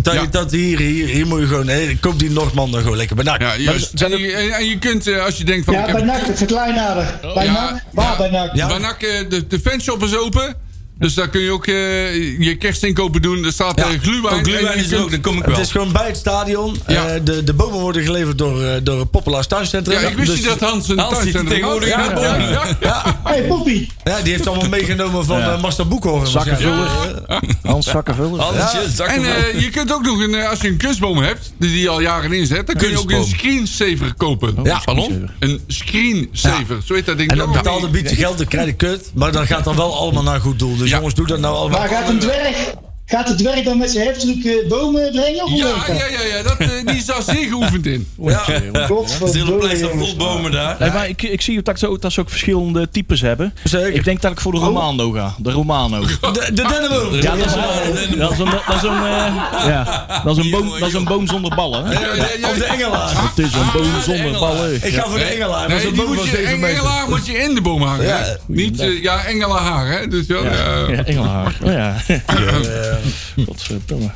F: Dat,
D: Ja.
F: je, dat hier, hier, hier moet je gewoon. Hé, koop die Noordman dan gewoon lekker bij NAC.
D: Ja, juist. En je, en je kunt, eh, als je denkt van...
H: Ja,
D: ik heb
H: bij NAC, het verkleinader. Bij
D: Ja,
H: NAC? Waar
D: ja.
H: bij NAC?
F: Ja.
D: Bij NAC, eh, de, de fanshop is open. Dus daar kun je ook eh, je kerstinkopen doen. Er staat eh
F: Ja,
D: gluwijn.
C: Oh,
D: en
C: Gluwijn
D: je
C: is er
D: kunt-
C: ook, dan kom ik
F: Het
C: wel.
F: is gewoon bij het stadion.
D: Ja.
F: Eh, de, de bomen worden geleverd door, eh, door het Populaars Tuincentrum.
D: Ja, ik wist
F: Dus-
D: niet dat Hans een
C: Hans zit
D: thuiscentrum
C: tegenwoordig in
D: had.
C: het
D: Ja, ja, ja.
H: hey, Poppy.
F: Ja, die heeft allemaal meegenomen van eh Master Boekhoorn. waarschijnlijk.
E: Hans Zakkenvuller.
C: Hansje,
D: En
C: zakken
D: eh, je kunt ook nog, een, eh, als je een kunstboom hebt, die je al jaren inzet, dan kun je ook een
C: Kunstboom.
D: screensaver kopen.
F: Ja.
C: Pardon?
D: Een screensaver, zo heet dat ding.
F: En dan
D: ook.
F: betaalde beetje geld, dan krijg je kut. Maar dat gaat dan wel allemaal naar een goed doel. Dus
D: Ja.
F: jongens, doe dat nou allemaal.
H: Maar gaat een dwerg... Gaat het dwerg dan met zijn heftige bomen brengen? Of
D: Ja, ja, ja, ja dat, eh, die is daar zeer geoefend in.
C: Stille plek
H: Godverdomme,
C: staat
H: jongens.
C: vol bomen daar.
E: Nee, maar ik, ik zie dat ze, ook, dat ze ook verschillende types hebben.
F: Zeker. Oh.
E: Ik denk dat ik voor de Romano ga. De Romano.
F: De, de Dennenboom.
E: Ja, dat is een, dat is een, dat is een, eh, ja, dat is een, boom, dat is een boom zonder ballen. hè?
D: Ja, ja, ja.
F: Of de Engelaar.
E: Het is een boom zonder ballen.
F: Ik ga voor de Engelaar. Dat is
D: Nee,
F: een
D: die
F: boom van
D: moet je,
F: 7 meter.
D: Engelaar moet je in de boom hangen.
F: Ja.
D: hè? Niet, eh, ja, Engelaar, hè. Dus wel, eh,
E: Ja, Engelhaar. Oh, ja.
F: Eh,
E: Godverdomme.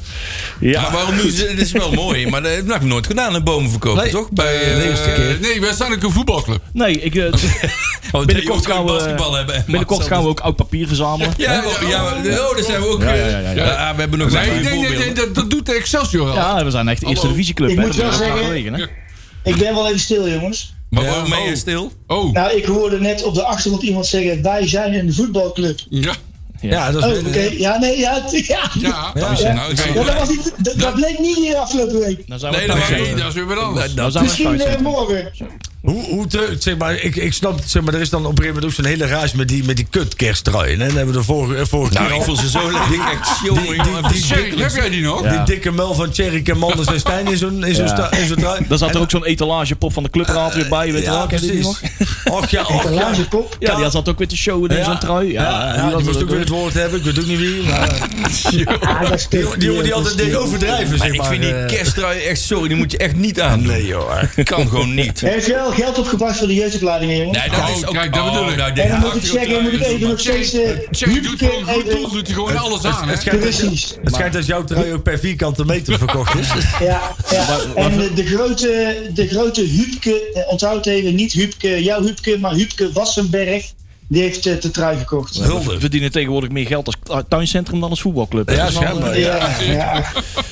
E: Ja,
C: Maar waarom nu? Dit is wel mooi, maar eh, dat heb ik nooit gedaan, een boom verkopen,
F: Nee.
C: toch? Bij,
D: Eh,
C: eh,
D: nee, wij zijn ook een voetbalclub.
E: nee, ik, eh,
C: oh,
E: binnenkort
C: gaan
E: gaan
C: we
E: we,
C: basketbal hebben.
E: binnenkort gaan
F: dus-
E: we ook oud papier verzamelen.
C: Ja, ja, ja, oh, daar zijn we ook.
E: Ja,
C: eh,
E: ja, ja, ja.
C: ah, we hebben nog
D: Nee,
C: een
D: nee, nee,
C: voorbeeld.
D: nee, dat, dat doet de Excelsior al.
E: Ja, we zijn echt
F: Oh,
E: de eerste
D: Hallo.
E: divisieclub.
H: Ik
E: hè.
H: moet
E: Dat
H: wel
E: is
H: zeggen-
E: gelegen, hè.
H: Ik ben wel even stil, jongens.
C: Maar
D: Ja,
C: waarom ben je
D: oh.
C: stil?
D: Oh,
H: Nou, ik hoorde net op de achtergrond iemand zeggen: Wij zijn een voetbalclub.
D: ja.
F: Ja, dat
H: Oh,
F: is
H: oké. Ja, nee, ja. het- ja.
D: Ja,
F: Ja.
D: dat is-
H: Ja.
C: Nou, ik zie-
H: Ja, dat, was niet, dat, dat bleek niet hier afgelopen week.
E: Dan zijn we
C: Nee,
E: thuis.
C: dat-
D: nee, dat is weer wat anders.
E: Nou zijn we
H: Misschien
E: thuis.
H: eh,
E: hè.
H: morgen.
F: Hoe, hoe te, zeg maar, ik, ik snap, zeg maar, er is dan op een gegeven moment ook zo'n hele rage met die, met die kut kersttrui. En dan hebben we de vorige, eh, vorige
C: Nou,
F: keer
C: ik
F: al-
C: voel ze zo lekker. Echt, jongen, jongen,
F: die-
D: Sherry, Heb
C: verschrikkelijk.
D: jij die nog?
E: Ja.
F: die dikke mel van Tjerk en Manders en Stijn in zo'n in zo'n
E: Ja.
F: sta- in zo'n trui.
E: Dan zat er ook zo'n etalagepop van de clubraad weer bij, weet je
F: Ja,
E: wel. Ken je die
F: precies.
E: nog?
F: Och ja, och
H: De
F: ja.
H: laatste kop.
E: Ja, die zat ook weer te showen in
F: Ja.
E: zo'n trui. Ja,
F: Ja,
E: die
F: ja,
E: had
F: die moest
E: dat
F: ook weer het woord hebben. Ik weet ook niet wie. Maar,
H: Ah, dat is
F: die jongen die,
H: dat
F: altijd
H: is-
F: deed overdrijven,
C: Maar
F: zeg
C: ik
F: maar.
C: vind die
F: eh.
C: kersttrui echt, sorry, die moet je echt niet aan. Nee, joh. Kan gewoon niet.
H: Heeft je wel geld opgebracht voor de jeugdopleidingen, jongen?
C: Nee, dat
D: Oh,
C: is ook...
D: kijk, dat
C: oh,
D: bedoel ik.
C: nou,
H: en dan moet
C: haak
H: ik
C: je
H: zeggen,
C: ook
H: moet ik
C: uit.
H: even nog steeds... eh,
D: Sherry doet voor een
H: even-
D: goed doel, doet hij gewoon alles aan. hè?
F: Het schijnt,
H: Precies.
F: het schijnt dat jouw trui ook per vierkante meter verkocht is.
H: Ja, ja. En eh, de grote, de grote Huubke, eh, onthoud even, niet Huubke, jouw Huubke, maar Huubke Wassenberg, die heeft eh, de trui gekocht. Ja,
E: We verdienen tegenwoordig meer geld als tu- tuincentrum dan als voetbalclub. Dat is wel,
F: schijnbaar,
E: eh,
H: ja.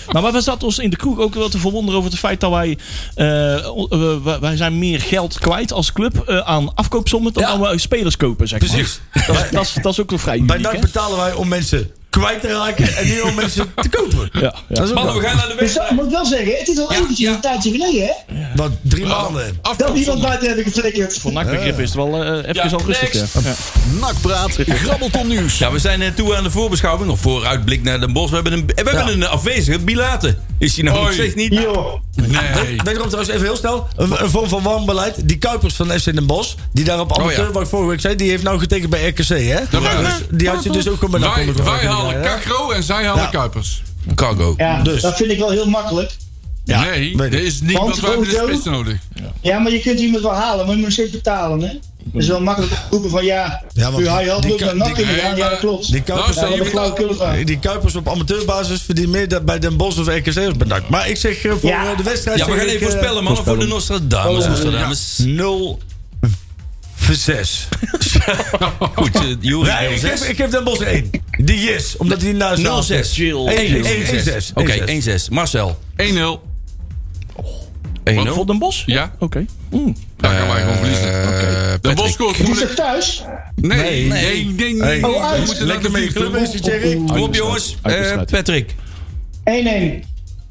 E: Nou, maar we zaten ons in de kroeg ook wel te verwonderen over het feit dat wij... eh, on- eh, wij- wij zijn meer geld kwijt als club eh, aan afkoopsommen dan,
F: Ja.
E: dat we spelers kopen, zeg maar.
F: Precies.
E: Dat, is- dat, is, dat is ook wel vrij
F: Bij
E: uniek,
F: NAC
E: hè?
F: betalen wij om mensen kwijt te raken en niet om mensen te kopen.
E: Ja, ja.
F: Dat is ook
C: Mannen,
F: wel.
C: we gaan naar de
H: Dus dat
C: wedstrijd.
H: moet ik wel zeggen, het is al eventjes een tijdje geleden, hè?
F: Wat, drie maanden.
H: Dat iemand buiten hebben geflikkerd.
E: Voor nakbegrip is het wel eh, even
C: Ja,
E: al rustig.
C: next.
E: ja. Ja.
B: Nakpraat, grabbelton nieuws.
C: Ja, we zijn eh, toe aan de voorbeschouwing. Of vooruitblik naar Den Bosch. We hebben een, we hebben een afwezige, Bilate. Is hij nou nog
D: Hoi.
C: steeds niet?
H: Joh,
D: Nee.
F: Wederom trouwens even heel snel. Een, een vorm van warm beleid. Die Kuipers van FC Den Bosch, die daar op amateur,
C: Oh, ja.
F: wat ik vorige week zei, die heeft nou getekend bij RKC, hè?
D: maar-
F: Dus die had je dus ook gewoon bij NAC
D: Wij,
F: onder
D: wij
F: contract kunnen
D: halen
F: krijgen, hè?
D: Cacro en zij halen
F: Ja.
D: Kuipers.
C: Cargo.
H: ja,
F: Dus.
H: dat vind ik wel heel makkelijk.
F: Ja,
D: nee,
F: weet
D: dat
F: ik.
D: is niet,
H: Want
D: want wij hebben de
H: Odo-
D: spits nodig.
H: Ja, maar je kunt iemand wel halen, maar je moet nog steeds betalen, hè? Dat is wel makkelijk roepen van ja,
F: Ja, maar
H: u haalt je
F: die
H: altijd naar
F: kan-
H: NAC
F: die-
H: kunnen gaan, ja dat klopt.
F: Die Kuipers,
H: Ja,
D: Luister,
H: dat
D: je
H: is
D: betaalt-
H: flauwekul van.
F: die Kuipers op amateurbasis verdient meer dan bij Den Bosch of RKC als bij NAC. Maar ik zeg eh, voor
H: Ja.
F: eh, de wedstrijd...
C: Ja, we
F: zeg
C: gaan
F: ik,
C: even
F: eh,
C: voorspellen, man. Voor de Nostradamus. Nostradamus.
F: 0 voor 6.
C: Goed, eh, Joris.
F: Nee, ik geef,
C: Joris.
F: ik geef Den Bosch 1. Die is, omdat hij naast
C: 06.
E: Jill.
F: 1-6.
C: Oké, 1-6. Marcel.
D: 1-0.
C: 1-0.
E: Wat, Voor Den Bos?
D: Ja,
E: Oké. Mm.
D: daar gaan wij gewoon verliezen. De Bos scoort
H: Is
D: moeilijk.
H: dat thuis?
D: Nee, nee,
C: Nee.
D: nee, nee.
F: Hey.
H: Oh,
D: We
H: uit.
D: moeten
F: Lekker
D: lekker
F: mee
D: mee
F: club is die, Jerry.
C: Kom op, jongens. Eh,
E: Uitwedstrijd.
C: Patrick.
H: 1-1.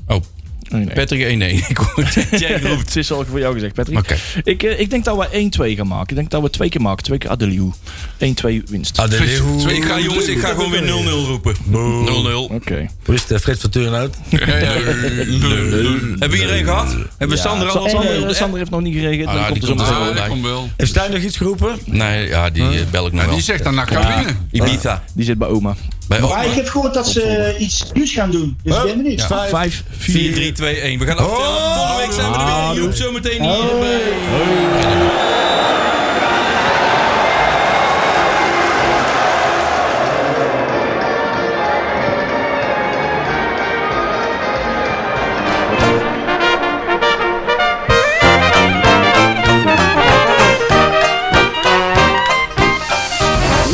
C: Oh,
E: Nee, nee.
C: Patrick 1-1. Ik hoor dat jij roept.
E: Het is al voor jou gezegd, Patrick.
C: Oké.
E: Ik, eh, ik denk dat we 1-2 gaan maken. Ik denk dat we twee keer maken. Twee keer Adeliu. 1-2 winst. Oké.
C: Ik ga, jongens, ik ga gewoon weer 0-0 roepen. 0-0.
F: Hoe is het, eh, Frits van Turen uit?
C: Hebben we iedereen gehad? Hebben we Sander al?
E: Sa- Sander,
C: Sander-
E: eh, Sander heeft nog niet gereageerd.
C: Ah,
E: dan
C: die
E: komt er zo
C: komt
E: meteen.
C: er
D: Ah, dat komt wel.
F: Heeft Stijn nog iets geroepen?
C: Nee, ja, die eh, bel ik nog
D: Die
C: wel.
D: zegt dan "Nou, naar winnen.
C: Ibiza.
E: Die zit bij oma.
C: Bij
H: Maar ik heb gehoord dat ze iets nieuws gaan doen. Dus ik ben benieuwd.
F: Eh,
E: 5,
C: 4,
E: 4,
C: 3, 2, 1. We gaan aftellen. Volgende week zijn we er weer. Joep, zometeen
F: Oh.
C: hier bij...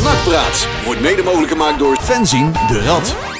B: Nakpraat wordt mede mogelijk gemaakt door
A: Fanzine de Rad.